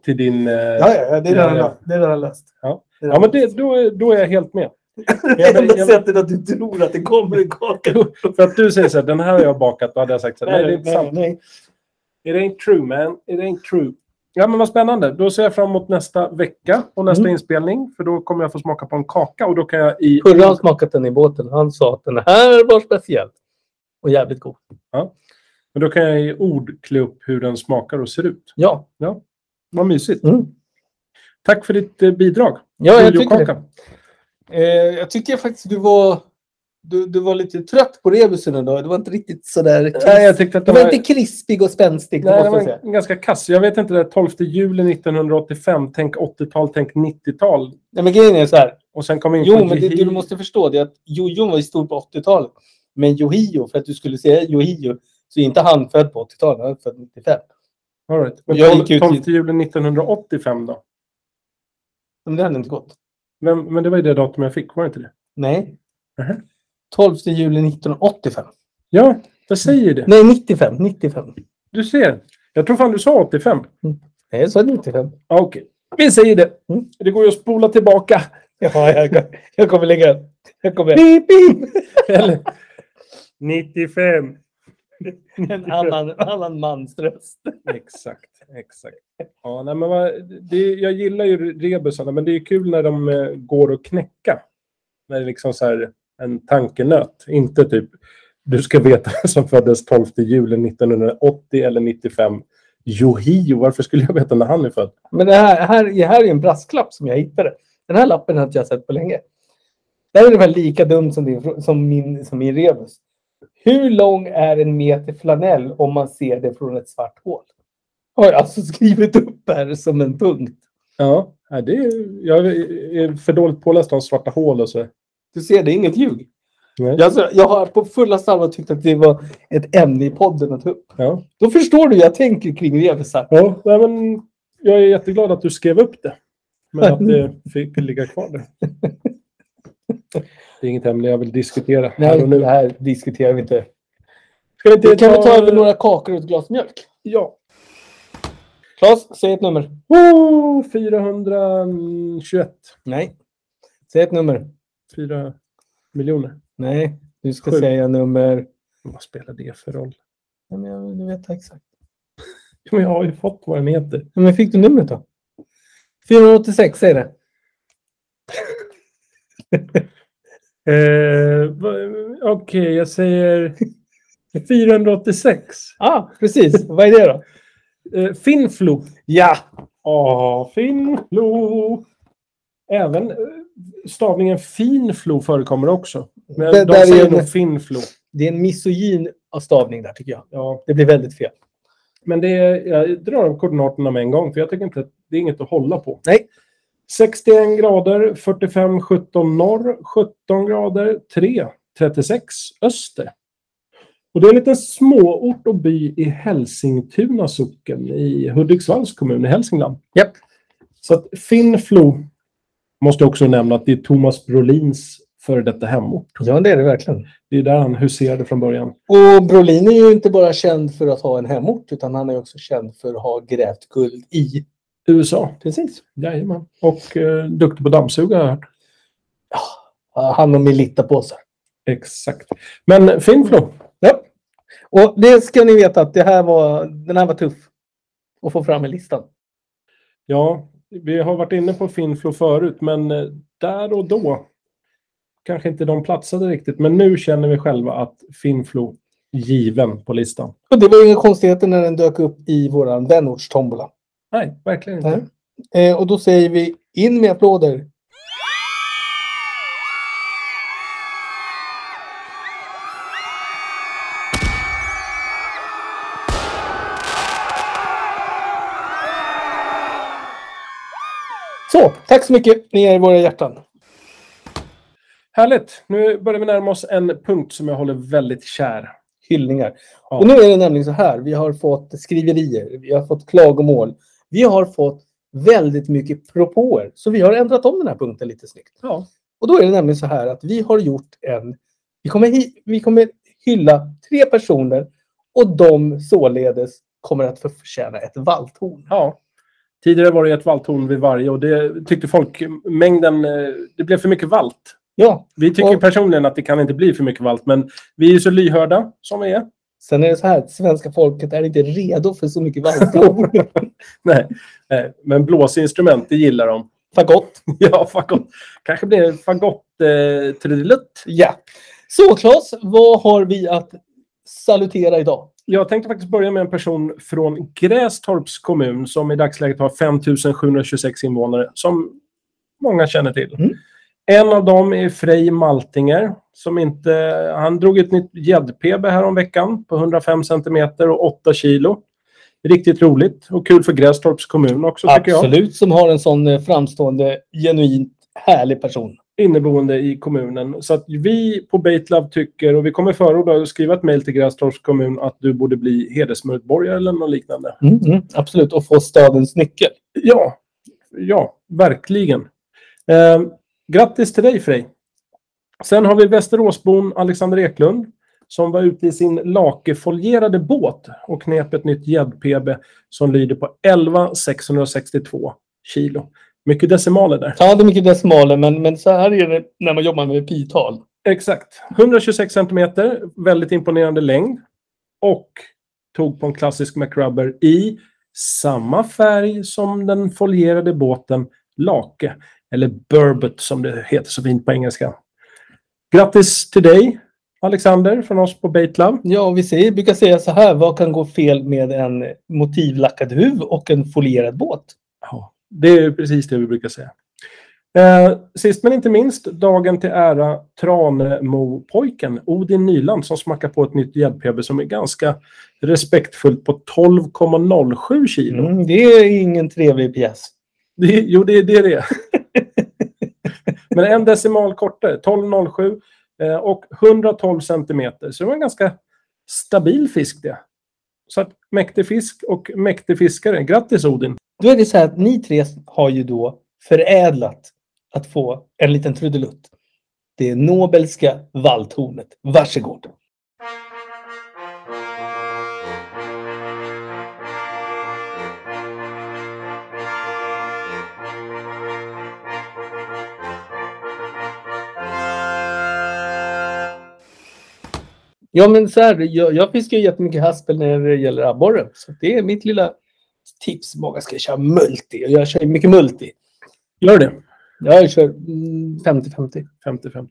[SPEAKER 3] till din... eh,
[SPEAKER 2] Ja, ja, ja, det är
[SPEAKER 3] Ja,
[SPEAKER 2] redan
[SPEAKER 3] ja.
[SPEAKER 2] löst. Det är redan löst.
[SPEAKER 3] Ja. Ja, men det, då, är- då är jag helt med.
[SPEAKER 2] Det
[SPEAKER 3] jag-
[SPEAKER 2] enda
[SPEAKER 3] jag-
[SPEAKER 2] sättet att du tror att det kommer en kaka.
[SPEAKER 3] För att du säger så här, den här har jag bakat. Då hade jag sagt så här, nej, det är inte sant.
[SPEAKER 2] nej.
[SPEAKER 3] It ain't true man, it ain't true. Ja men vad spännande. Då ser jag fram emot nästa vecka och nästa
[SPEAKER 2] Mm.
[SPEAKER 3] inspelning. För då kommer jag få smaka på en kaka och då kan jag i...
[SPEAKER 2] Kurre har smakat den i båten. Han sa att den här var speciell. Och jävligt god.
[SPEAKER 3] Men då kan jag i ord klä upp hur den smakar och ser ut.
[SPEAKER 2] Ja.
[SPEAKER 3] Vad mysigt.
[SPEAKER 2] Mm.
[SPEAKER 3] Tack för ditt eh, bidrag.
[SPEAKER 2] Ja, jag tycker
[SPEAKER 3] Jojo-kaka.
[SPEAKER 2] det. Eh, jag tycker faktiskt du var... Du, du var lite trött på rebusen idag. Du var inte riktigt sådär...
[SPEAKER 3] Nej, jag tyckte att det
[SPEAKER 2] Du
[SPEAKER 3] var...
[SPEAKER 2] var inte krispig och spänstig, det
[SPEAKER 3] Nej, det
[SPEAKER 2] måste jag
[SPEAKER 3] var
[SPEAKER 2] säga.
[SPEAKER 3] en- ganska kass. Jag vet inte, det där 12 juli 1985. Tänk 80-tal, tänk 90-tal.
[SPEAKER 2] Nej, men grejen är så här.
[SPEAKER 3] Och sen kom vi in
[SPEAKER 2] Jo,
[SPEAKER 3] på
[SPEAKER 2] men det, det
[SPEAKER 3] Jihi.
[SPEAKER 2] du måste förstå det är att Jojon var ju stor på 80-talet. Men Johio, för att du skulle säga Johio, så är inte han född på 80-talet. Han är född 95.
[SPEAKER 3] All right. Men
[SPEAKER 2] Jag
[SPEAKER 3] 12,
[SPEAKER 2] gick ut i-
[SPEAKER 3] 12 juli 1985 då?
[SPEAKER 2] Men det hade inte gått.
[SPEAKER 3] Men, men det var ju det datum jag fick, var det inte det?
[SPEAKER 2] Nej.
[SPEAKER 3] Mhm.
[SPEAKER 2] 12 juli 1985.
[SPEAKER 3] Ja, jag säger det.
[SPEAKER 2] Nej, 95. 95.
[SPEAKER 3] Du ser. Jag tror fan du sa 85.
[SPEAKER 2] Nej, jag sa 95.
[SPEAKER 3] Ja, Okej. Vi säger det.
[SPEAKER 2] Mm.
[SPEAKER 3] Det går ju att spola tillbaka.
[SPEAKER 2] Ja, jag, kom- jag kommer lägga upp. Jag kommer... Beep, beep.
[SPEAKER 3] Eller 95.
[SPEAKER 2] En annan, en annan mans röst.
[SPEAKER 3] Exakt. exakt. Ja, nej, men vad, det, jag gillar ju rebusarna, men det är kul när de eh, går att knäcka. när det är liksom så här en tankenöt. Inte typ, du ska veta som föddes 12 juli 1980 eller 95. Johio, varför skulle jag veta när han är född?
[SPEAKER 2] Men det här, här, det här är en brasklapp som jag hittade. Den här lappen har inte jag sett på länge. Det här är ungefär lika dumt som, din, frå- som, min, som min rebus. Hur lång är en meter flanell om man ser det från ett svart hål? Har jag alltså skrivit upp här som en punkt.
[SPEAKER 3] Ja, nej, det är, jag är för dåligt påläst om svarta hål och så.
[SPEAKER 2] Du ser, det är inget ljug.
[SPEAKER 3] Nej.
[SPEAKER 2] Jag, alltså, jag har på fulla allvar tyckt att det var ett ämne i podden att ta upp.
[SPEAKER 3] Ja.
[SPEAKER 2] Då förstår du hur jag tänker kring rebusar.
[SPEAKER 3] Ja, nej, men jag är jätteglad att du skrev upp det. Men att det fick ligga kvar där. Det är inget ämne jag vill diskutera här
[SPEAKER 2] Nej,
[SPEAKER 3] och nu.
[SPEAKER 2] det här diskuterar vi inte.
[SPEAKER 3] Ska vi
[SPEAKER 2] Det kan vi ta över några kakor och ett glas mjölk.
[SPEAKER 3] Ja.
[SPEAKER 2] Claes, säg ett nummer.
[SPEAKER 3] Oh, 421.
[SPEAKER 2] Nej. Säg ett nummer.
[SPEAKER 3] 4 miljoner.
[SPEAKER 2] Nej, du ska
[SPEAKER 3] Sju.
[SPEAKER 2] säga nummer...
[SPEAKER 3] Vad spelar det för roll?
[SPEAKER 2] Nej, men jag vill veta exakt.
[SPEAKER 3] Ja, Men jag har ju fått vad den heter.
[SPEAKER 2] Nej, Men fick du numret då? 486, säg det.
[SPEAKER 3] Eh, va- Okej, jag säger 486.
[SPEAKER 2] Ja, ah, precis. Vad är det då?
[SPEAKER 3] Eh, Finflo.
[SPEAKER 2] Ja!
[SPEAKER 3] Ja, Finflo. Även eh, stavningen Finflo förekommer också. Men
[SPEAKER 2] Det
[SPEAKER 3] de
[SPEAKER 2] där är
[SPEAKER 3] säger
[SPEAKER 2] ju-
[SPEAKER 3] nog Finflo.
[SPEAKER 2] Det är en misogyn av stavning där, tycker jag.
[SPEAKER 3] Ja.
[SPEAKER 2] Det blir väldigt fel.
[SPEAKER 3] Men det är, jag drar koordinaterna med en gång, för jag tycker inte att det är inget att hålla på.
[SPEAKER 2] Nej.
[SPEAKER 3] 61 grader, 45, 17 norr, 17 grader, 3, 36 öster. Och det är en liten småort och by i Hälsingtuna socken i Hudiksvalls kommun i Hälsingland.
[SPEAKER 2] Japp.
[SPEAKER 3] Så att Finnflo måste jag också nämna att det är Thomas Brolins före detta hemort.
[SPEAKER 2] Ja, det är det verkligen.
[SPEAKER 3] Det är där han huserade från början.
[SPEAKER 2] Och Brolin är ju inte bara känd för att ha en hemort, utan han är också känd för att ha grävt guld i.
[SPEAKER 3] USA.
[SPEAKER 2] Precis.
[SPEAKER 3] Jajamän. Och eh, duktig på dammsuga har jag hört.
[SPEAKER 2] Ah, Han och Melitta-påsar.
[SPEAKER 3] Exakt. Men Finflo.
[SPEAKER 2] Ja. Och det ska ni veta att det här var, den här var tuff att få fram i listan.
[SPEAKER 3] Ja, vi har varit inne på Finflo förut, men eh, där och då kanske inte de platsade riktigt. Men nu känner vi själva att Finflo given på listan.
[SPEAKER 2] Och det var ju inga konstigheter när den dök upp i våran vänortstombola.
[SPEAKER 3] Nej, verkligen inte.
[SPEAKER 2] Nej. Eh, och då säger vi in med applåder. Så, tack så mycket. Ni är i våra hjärtan.
[SPEAKER 3] Härligt. Nu börjar vi närma oss en punkt som jag håller väldigt kär.
[SPEAKER 2] hyllningar.
[SPEAKER 3] Ja.
[SPEAKER 2] Och nu är det nämligen så här, vi har fått skriverier, vi har fått klagomål, vi har fått väldigt mycket propåer. Så vi har ändrat om den här punkten lite snyggt.
[SPEAKER 3] Ja.
[SPEAKER 2] Och då är det nämligen så här att vi har gjort en... Vi kommer, hi, vi kommer hylla tre personer och de således kommer att få förtjäna ett valthorn.
[SPEAKER 3] ja. Tidigare var det ett valthorn vid varje och det tyckte folk mängden... eh, Det blev för mycket valt.
[SPEAKER 2] Ja,
[SPEAKER 3] Vi tycker
[SPEAKER 2] Och-
[SPEAKER 3] personligen att det kan inte bli för mycket valt, men vi är ju så lyhörda som vi är.
[SPEAKER 2] sen är det så här att svenska folket är inte redo för så mycket valthorn.
[SPEAKER 3] Nej, eh, men blåsinstrument, det gillar de.
[SPEAKER 2] Fagott.
[SPEAKER 3] Ja, fagott. Kanske blir det fagott-trudelutt.
[SPEAKER 2] Ja. Så Claes, vad har vi att salutera idag?
[SPEAKER 3] Jag tänkte faktiskt börja med en person från Grästorps kommun som i dagsläget har 5 726 invånare, som många känner till.
[SPEAKER 2] Mm.
[SPEAKER 3] En av dem är Frej Maltinger. Som inte, han drog ett nytt gädd-PB häromveckan på 105 centimeter och 8 kilo. Riktigt roligt och kul för Grästorps kommun också tycker jag.
[SPEAKER 2] Absolut, som har en sån eh, framstående, genuint härlig person.
[SPEAKER 3] inneboende i kommunen. Så att vi på Baitlab tycker, och vi kommer förorda och skriva ett mejl till Grästorps kommun att du borde bli hedersmedborgare eller något liknande.
[SPEAKER 2] Mm, absolut, och få stadens nyckel.
[SPEAKER 3] Ja, ja, verkligen. Eh, grattis till dig Frej. Sen har vi Västeråsbon Alexander Eklund som var ute i sin lakefolierade båt och knep ett nytt gädd-PB som lyder på 11 662 kilo. Mycket decimaler där.
[SPEAKER 2] Ja, det är mycket decimaler, men, men så här är det när man jobbar med pital.
[SPEAKER 3] Exakt. 126 centimeter, väldigt imponerande längd. Och tog på en klassisk MacRubber i samma färg som den folierade båten Lake. Eller Burbot som det heter så fint på engelska. Grattis till dig, Alexander, från oss på Baitlab.
[SPEAKER 2] Ja, vi säger, brukar säga så här, vad kan gå fel med en motivlackad huv och en folierad båt?
[SPEAKER 3] Ja, det är ju precis det vi brukar säga. Eh, sist men inte minst, dagen till ära Tranemo-pojken Odin Nyland som smackar på ett nytt gäddpb som är ganska respektfullt på 12,07 kilo.
[SPEAKER 2] Mm, det är ingen trevlig pjäs.
[SPEAKER 3] Det, jo, det, det är det. Men en decimal kortare, 12,07 eh, och 112 centimeter. Så det var en ganska stabil fisk det. Så att mäktig fisk och mäktig fiskare. Grattis Odin!
[SPEAKER 2] Då är det så här att ni tre har ju då förädlat att få en liten trudelutt. Det är Nobelska valltornet. Varsågod! Ja, men så här, jag, jag fiskar ju jättemycket haspel när det gäller abborre. Så det är mitt lilla tips. Många ska köra multi och jag kör ju mycket multi.
[SPEAKER 3] Gör det!
[SPEAKER 2] Jag kör mm, 50-50.
[SPEAKER 3] 50-50.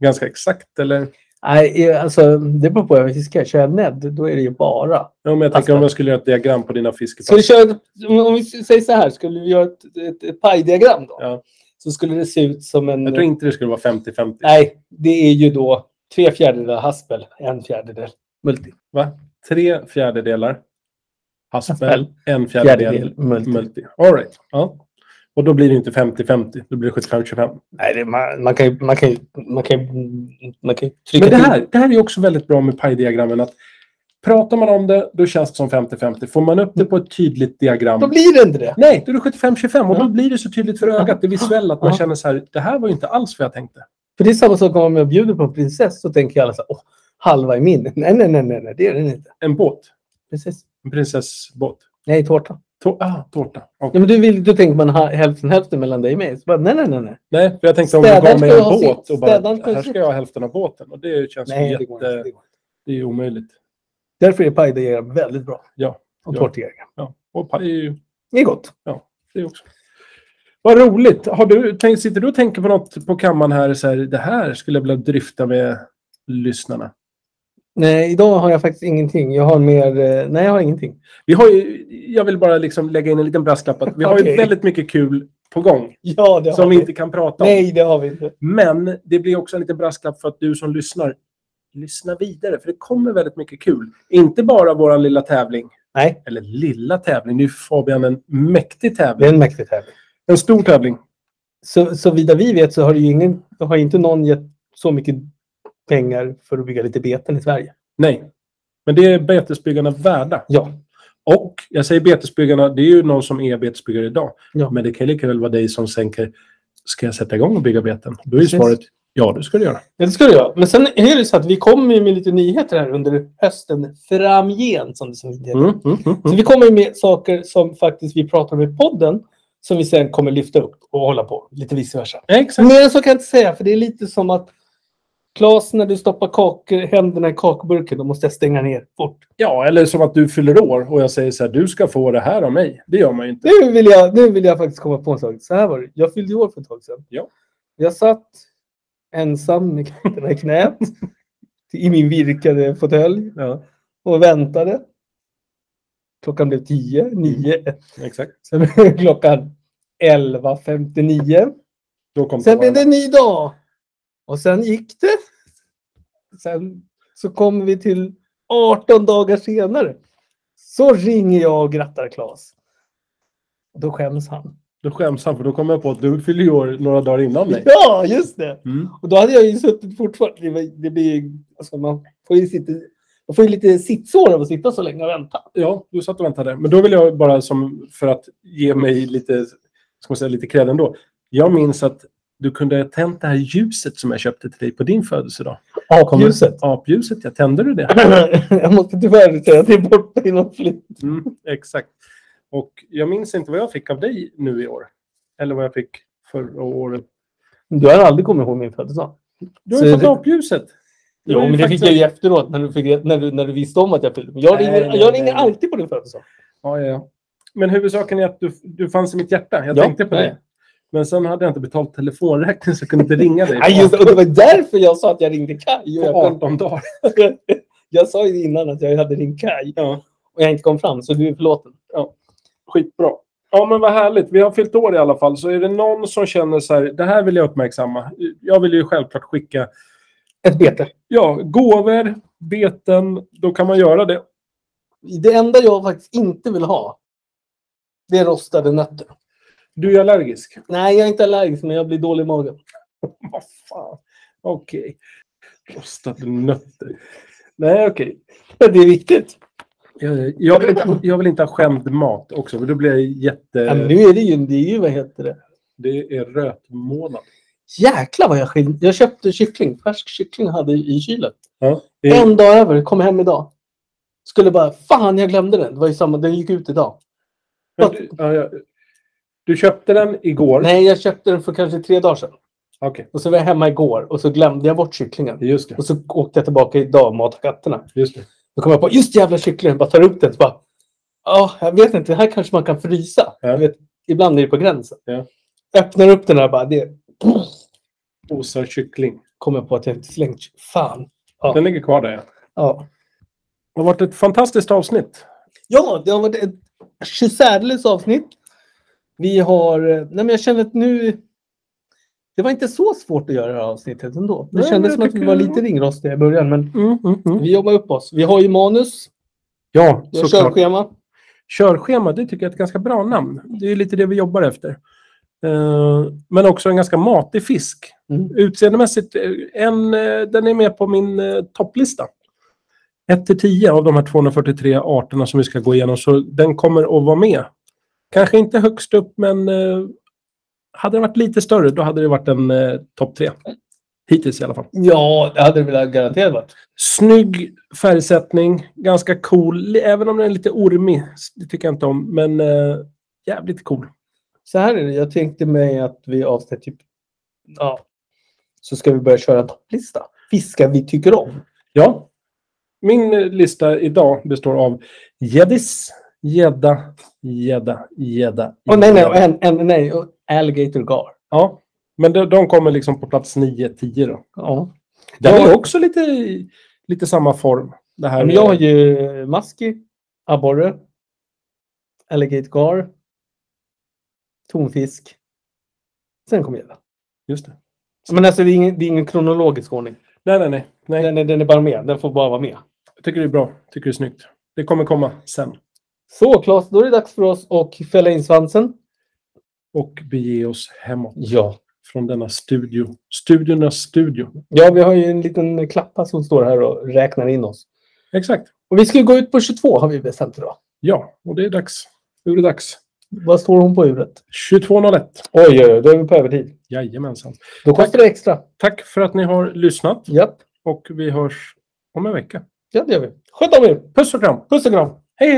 [SPEAKER 3] Ganska exakt eller?
[SPEAKER 2] Nej, eh, alltså det beror på vad jag fiskar. Kör jag ned, då är det ju bara.
[SPEAKER 3] Ja, men jag
[SPEAKER 2] Fast-
[SPEAKER 3] tänker om jag skulle göra ett diagram på dina fiskepass.
[SPEAKER 2] Alltså- Ska vi köra, ett- om om vi säger så här, skulle vi göra ett, ett, ett pajdiagram då?
[SPEAKER 3] Ja.
[SPEAKER 2] Så skulle det se ut som en...
[SPEAKER 3] Jag tror inte det skulle vara 50-50.
[SPEAKER 2] Nej, det är ju då tre fjärdedelar haspel, en fjärdedel multi.
[SPEAKER 3] Va? Tre fjärdedelar haspel,
[SPEAKER 2] Haspel.
[SPEAKER 3] en fjärdedel,
[SPEAKER 2] Fjärdedel multi.
[SPEAKER 3] multi. All right. ja. Och då blir det inte 50-50, då blir det 75-25.
[SPEAKER 2] Nej, det, man, man kan ju man kan, ju- man kan, ju- man kan ju trycka
[SPEAKER 3] Men det
[SPEAKER 2] till.
[SPEAKER 3] här, det här är också väldigt bra med pajdiagrammen. Att pratar man om det, då känns det som 50-50. Får man upp det på ett tydligt diagram.
[SPEAKER 2] Då blir det inte det.
[SPEAKER 3] Nej, då är det 75-25 och
[SPEAKER 2] Ja.
[SPEAKER 3] då blir det så tydligt för ögat, det visuella, att man
[SPEAKER 2] Ja.
[SPEAKER 3] känner så här, det här var ju inte alls vad jag tänkte.
[SPEAKER 2] För det är samma sak om jag bjuder på en prinsess så tänker alla så här, åh, halva är min. Nej, nej, nej, nej, nej, det är den inte.
[SPEAKER 3] En båt,
[SPEAKER 2] Precis.
[SPEAKER 3] en prinsessbåt.
[SPEAKER 2] Nej, tårta.
[SPEAKER 3] Tå- ah, tårta. Okej.
[SPEAKER 2] Ja, men du vill, då tänker man ha- hälften hälften mellan dig och mig. Så bara, nej, nej, nej, nej.
[SPEAKER 3] Nej, för jag tänkte om du
[SPEAKER 2] Städaren
[SPEAKER 3] gav mig
[SPEAKER 2] ska ju
[SPEAKER 3] en
[SPEAKER 2] ha
[SPEAKER 3] båt
[SPEAKER 2] sitt.
[SPEAKER 3] och bara,
[SPEAKER 2] Städaren ska ju ha
[SPEAKER 3] här
[SPEAKER 2] sitt.
[SPEAKER 3] ska jag ha hälften av båten. Och det känns
[SPEAKER 2] nej
[SPEAKER 3] jätte...
[SPEAKER 2] det går inte. Det går. inte.
[SPEAKER 3] Det är ju omöjligt.
[SPEAKER 2] Därför är pajdiagram väldigt bra.
[SPEAKER 3] Ja,
[SPEAKER 2] Och
[SPEAKER 3] ja.
[SPEAKER 2] tårtdiagram.
[SPEAKER 3] Ja. Och paj är ju
[SPEAKER 2] Det är gott.
[SPEAKER 3] det också. Vad roligt. Har du, tänk, sitter du och tänker på något på kammaren här, så här, det här skulle jag vilja dryfta med lyssnarna?
[SPEAKER 2] Nej, idag har jag faktiskt ingenting. Jag har mer... eh, Nej, jag har ingenting.
[SPEAKER 3] Vi har ju, jag vill bara liksom lägga in en liten brasklapp att vi har ju
[SPEAKER 2] Okej.
[SPEAKER 3] väldigt mycket kul på gång
[SPEAKER 2] Ja, det
[SPEAKER 3] som vi inte kan prata om.
[SPEAKER 2] Nej, det har vi inte.
[SPEAKER 3] Men det blir också en liten brasklapp för att du som lyssnar, lyssna vidare för det kommer väldigt mycket kul. Inte bara vår lilla tävling,
[SPEAKER 2] Nej,
[SPEAKER 3] eller lilla tävling, nu är Fabian en mäktig
[SPEAKER 2] det
[SPEAKER 3] tävling.
[SPEAKER 2] är en mäktig tävling.
[SPEAKER 3] En stor tävling.
[SPEAKER 2] Så, så vida vi vet så har, det ju ingen, har inte någon gett så mycket pengar för att bygga lite beten i Sverige.
[SPEAKER 3] Nej, men det är betesbyggarna värda.
[SPEAKER 2] Ja.
[SPEAKER 3] Och jag säger betesbyggarna, det är ju någon som är betesbyggare idag.
[SPEAKER 2] Ja.
[SPEAKER 3] Men det kan lika väl vara dig som tänker, ska jag sätta igång och bygga beten? Då är ju
[SPEAKER 2] Precis.
[SPEAKER 3] svaret, ja det ska du göra.
[SPEAKER 2] Ja, det ska det göra. Men sen är det så att vi kommer ju med lite nyheter här under hösten framgent. Som det som det heter.
[SPEAKER 3] Mm, mm, mm, mm.
[SPEAKER 2] Så vi kommer med saker som faktiskt vi pratar om i podden som vi sen kommer lyfta upp och hålla på. Lite vice versa.
[SPEAKER 3] Exakt.
[SPEAKER 2] Mer än så kan jag inte säga, för det är lite som att Claes, när du stoppar kakor, händerna i kakburken, då måste jag stänga ner fort.
[SPEAKER 3] Ja, eller som att du fyller år och jag säger så här, du ska få det här av mig. Det gör man ju inte.
[SPEAKER 2] Nu vill jag, nu vill jag faktiskt komma på en sak. Så här var det. Jag fyllde ju år för ett tag sedan.
[SPEAKER 3] Ja.
[SPEAKER 2] Jag satt ensam med katterna i knät i min virkade fåtölj
[SPEAKER 3] Ja,
[SPEAKER 2] och väntade. Klockan blev tio, nio.
[SPEAKER 3] exakt.
[SPEAKER 2] Sen blev klockan 11.59.
[SPEAKER 3] Då kom
[SPEAKER 2] Sen blev det
[SPEAKER 3] det...
[SPEAKER 2] en ny dag. Och sen gick det. Sen så kommer vi till 18 dagar senare. Så ringer jag och grattar Claes. Då skäms han.
[SPEAKER 3] Då skäms han, för då kom jag på att du fyller ju år några dagar innan mig.
[SPEAKER 2] Ja, just det.
[SPEAKER 3] Mm.
[SPEAKER 2] Och då hade jag ju suttit fortfarande. Det, var- det blir, ju- alltså man får ju sitta, man får ju lite sitsår av att sitta så länge och vänta.
[SPEAKER 3] Ja, du satt och väntade. Men då vill jag bara, som, för att ge mig lite, ska man säga, lite cred ändå. Jag minns att du kunde ha tänt det här ljuset som jag köpte till dig på din födelsedag. Kommer-
[SPEAKER 2] Apljuset.
[SPEAKER 3] Apljuset, ja. Tände du det?
[SPEAKER 2] jag måste tyvärr säga att det är borta i någon flytt.
[SPEAKER 3] Mm, exakt. Och jag minns inte vad jag fick av dig nu i år. Eller vad jag fick förra året.
[SPEAKER 2] Du har aldrig kommit ihåg min födelsedag.
[SPEAKER 3] Du har ju
[SPEAKER 2] Så
[SPEAKER 3] fått
[SPEAKER 2] det-
[SPEAKER 3] apljuset.
[SPEAKER 2] Jo,
[SPEAKER 3] var ju
[SPEAKER 2] men det fick
[SPEAKER 3] faktiskt-
[SPEAKER 2] jag ju efteråt när du, fick, när du, när du visste om att jag fyllde Jag
[SPEAKER 3] Nej,
[SPEAKER 2] ringer,
[SPEAKER 3] nej,
[SPEAKER 2] jag
[SPEAKER 3] nej,
[SPEAKER 2] ringer
[SPEAKER 3] nej.
[SPEAKER 2] alltid på din födelsedag.
[SPEAKER 3] Ja, ja, ja. Men huvudsaken är att du, du fanns i mitt hjärta. Jag
[SPEAKER 2] Ja,
[SPEAKER 3] tänkte på
[SPEAKER 2] nej.
[SPEAKER 3] dig. Men sen hade jag inte betalt telefonräkningen så jag kunde inte ringa dig
[SPEAKER 2] Nej, just det. Och det var därför jag sa att jag ringde Kaj. Och
[SPEAKER 3] på
[SPEAKER 2] jag,
[SPEAKER 3] 18 dagar.
[SPEAKER 2] kom, jag sa ju innan att jag hade ringt Kaj
[SPEAKER 3] Ja,
[SPEAKER 2] och jag inte kom fram, så du är förlåten.
[SPEAKER 3] skitbra. Ja, men vad härligt. Vi har fyllt år i alla fall. Så är det någon som känner så här, det här vill jag uppmärksamma. Jag vill ju självklart skicka
[SPEAKER 2] Ett bete.
[SPEAKER 3] Ja, gåvor, beten, då kan man göra det.
[SPEAKER 2] Det enda jag faktiskt inte vill ha, det är rostade nötter.
[SPEAKER 3] Du är allergisk?
[SPEAKER 2] Nej, jag är inte allergisk, men jag blir dålig i magen.
[SPEAKER 3] Vad fan. Okej. Rostade nötter. Nej, okej.
[SPEAKER 2] Det är viktigt.
[SPEAKER 3] Jag, jag, vill inte, jag vill inte ha skämd mat också, för då blir jag
[SPEAKER 2] Ja, men
[SPEAKER 3] jätte...
[SPEAKER 2] nu är det ju, det är ju, vad heter det?
[SPEAKER 3] Det är rötmånad.
[SPEAKER 2] Jäklar vad jag skiljer. Jag köpte kyckling, färsk kyckling hade jag i kylen.
[SPEAKER 3] Ja, det är,
[SPEAKER 2] En dag över, kom hem idag. Skulle bara, fan jag glömde den. Det var ju samma, den gick ut idag.
[SPEAKER 3] men du, ja, ja. du köpte den igår?
[SPEAKER 2] Nej, jag köpte den för kanske tre dagar sedan.
[SPEAKER 3] Okej,
[SPEAKER 2] Och så var jag hemma igår och så glömde jag bort kycklingen.
[SPEAKER 3] just det.
[SPEAKER 2] Och så åkte jag tillbaka idag och matade katterna.
[SPEAKER 3] Just det.
[SPEAKER 2] Då kom jag på, just jävla kycklingen, bara tar upp den. Så bara, ja, jag vet inte, här kanske man kan frysa.
[SPEAKER 3] Ja.
[SPEAKER 2] Jag vet, ibland är det på gränsen.
[SPEAKER 3] Ja.
[SPEAKER 2] Öppnar upp den här bara, det
[SPEAKER 3] Osar kyckling.
[SPEAKER 2] kommer jag på att jag inte slängt. Fan. Ja.
[SPEAKER 3] Den ligger kvar där, ja.
[SPEAKER 2] Ja.
[SPEAKER 3] Det har varit ett fantastiskt avsnitt.
[SPEAKER 2] ja, det har varit ett särdeles avsnitt. Vi har, eh, nej men jag känner att nu, det var inte så svårt att göra det här avsnittet ändå. Det
[SPEAKER 3] Nej, men
[SPEAKER 2] kändes
[SPEAKER 3] jag
[SPEAKER 2] som att vi
[SPEAKER 3] tycker-
[SPEAKER 2] var lite ringrostiga i början, men
[SPEAKER 3] Mm,
[SPEAKER 2] vi jobbar upp oss. Vi har ju manus,
[SPEAKER 3] Ja,
[SPEAKER 2] vi har
[SPEAKER 3] såklart.
[SPEAKER 2] körschema.
[SPEAKER 3] Körschema, det tycker jag är ett ganska bra namn. Det är ju lite det vi jobbar efter. Eh, Men också en ganska matig fisk.
[SPEAKER 2] Mm.
[SPEAKER 3] Utseendemässigt, eh, en, eh, den är med på min eh, topplista. 1 till 10 av de här 243 arterna som vi ska gå igenom, så den kommer att vara med. Kanske inte högst upp, men eh, hade den varit lite större, då hade det varit en eh, topp 3. Hittills i alla fall.
[SPEAKER 2] Ja, det hade det väl garanterat varit.
[SPEAKER 3] Snygg färgsättning, ganska cool. Li- Även om den är lite ormig, s- det tycker jag inte om. Men eh, jävligt cool.
[SPEAKER 2] Så här är det, jag tänkte mig att vi avsnitt typ, ja, så ska vi börja köra en topplista. Fiskar vi tycker om.
[SPEAKER 3] Ja. Min eh, lista idag består av gäddis, gädda, gädda, gädda.
[SPEAKER 2] Åh nej, nej,
[SPEAKER 3] gädda.
[SPEAKER 2] och en, en, nej, och alligator gar.
[SPEAKER 3] Ja. Men de, de kommer liksom på plats 9-10 då.
[SPEAKER 2] Ja.
[SPEAKER 3] Den
[SPEAKER 2] Ja.
[SPEAKER 3] är också lite, i- lite samma form. Det här
[SPEAKER 2] Men jag har ju maski, abborre, alligator gar, tonfisk. Sen kommer gädda.
[SPEAKER 3] Just det.
[SPEAKER 2] Men alltså det är ingen, det är ingen kronologisk ordning.
[SPEAKER 3] Nej, nej, nej, nej.
[SPEAKER 2] Den är, den är bara med, den får bara vara med.
[SPEAKER 3] Jag tycker det är bra. Jag tycker det är snyggt. Det kommer komma sen.
[SPEAKER 2] Så Claes, då är det dags för oss att fälla in svansen.
[SPEAKER 3] Och bege oss hemåt.
[SPEAKER 2] Ja.
[SPEAKER 3] från denna studio. Studiornas studio.
[SPEAKER 2] Ja, vi har ju en liten klappa som står här och räknar in oss.
[SPEAKER 3] Exakt.
[SPEAKER 2] Och vi ska ju gå ut på 22 har vi bestämt idag.
[SPEAKER 3] Ja, och det är dags. Nu är det dags.
[SPEAKER 2] Vad står hon på huvudet?
[SPEAKER 3] 22.01.
[SPEAKER 2] Oj, oj, oj, då är vi på övertid.
[SPEAKER 3] Jajamensan.
[SPEAKER 2] Då kostar det extra.
[SPEAKER 3] Tack för att ni har lyssnat
[SPEAKER 2] Japp,
[SPEAKER 3] och vi hörs om en vecka.
[SPEAKER 2] ja det gör vi. Sköt om er!
[SPEAKER 3] Puss och kram!
[SPEAKER 2] Puss och kram!
[SPEAKER 3] Hej,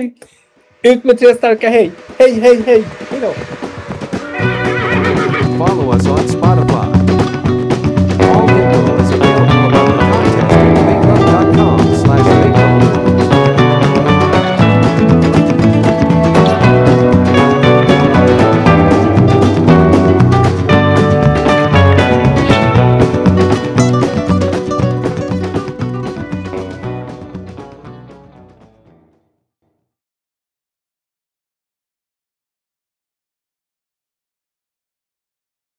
[SPEAKER 3] hej!
[SPEAKER 2] Ut med tre starka hej! Hej, hej, hej! Hej då!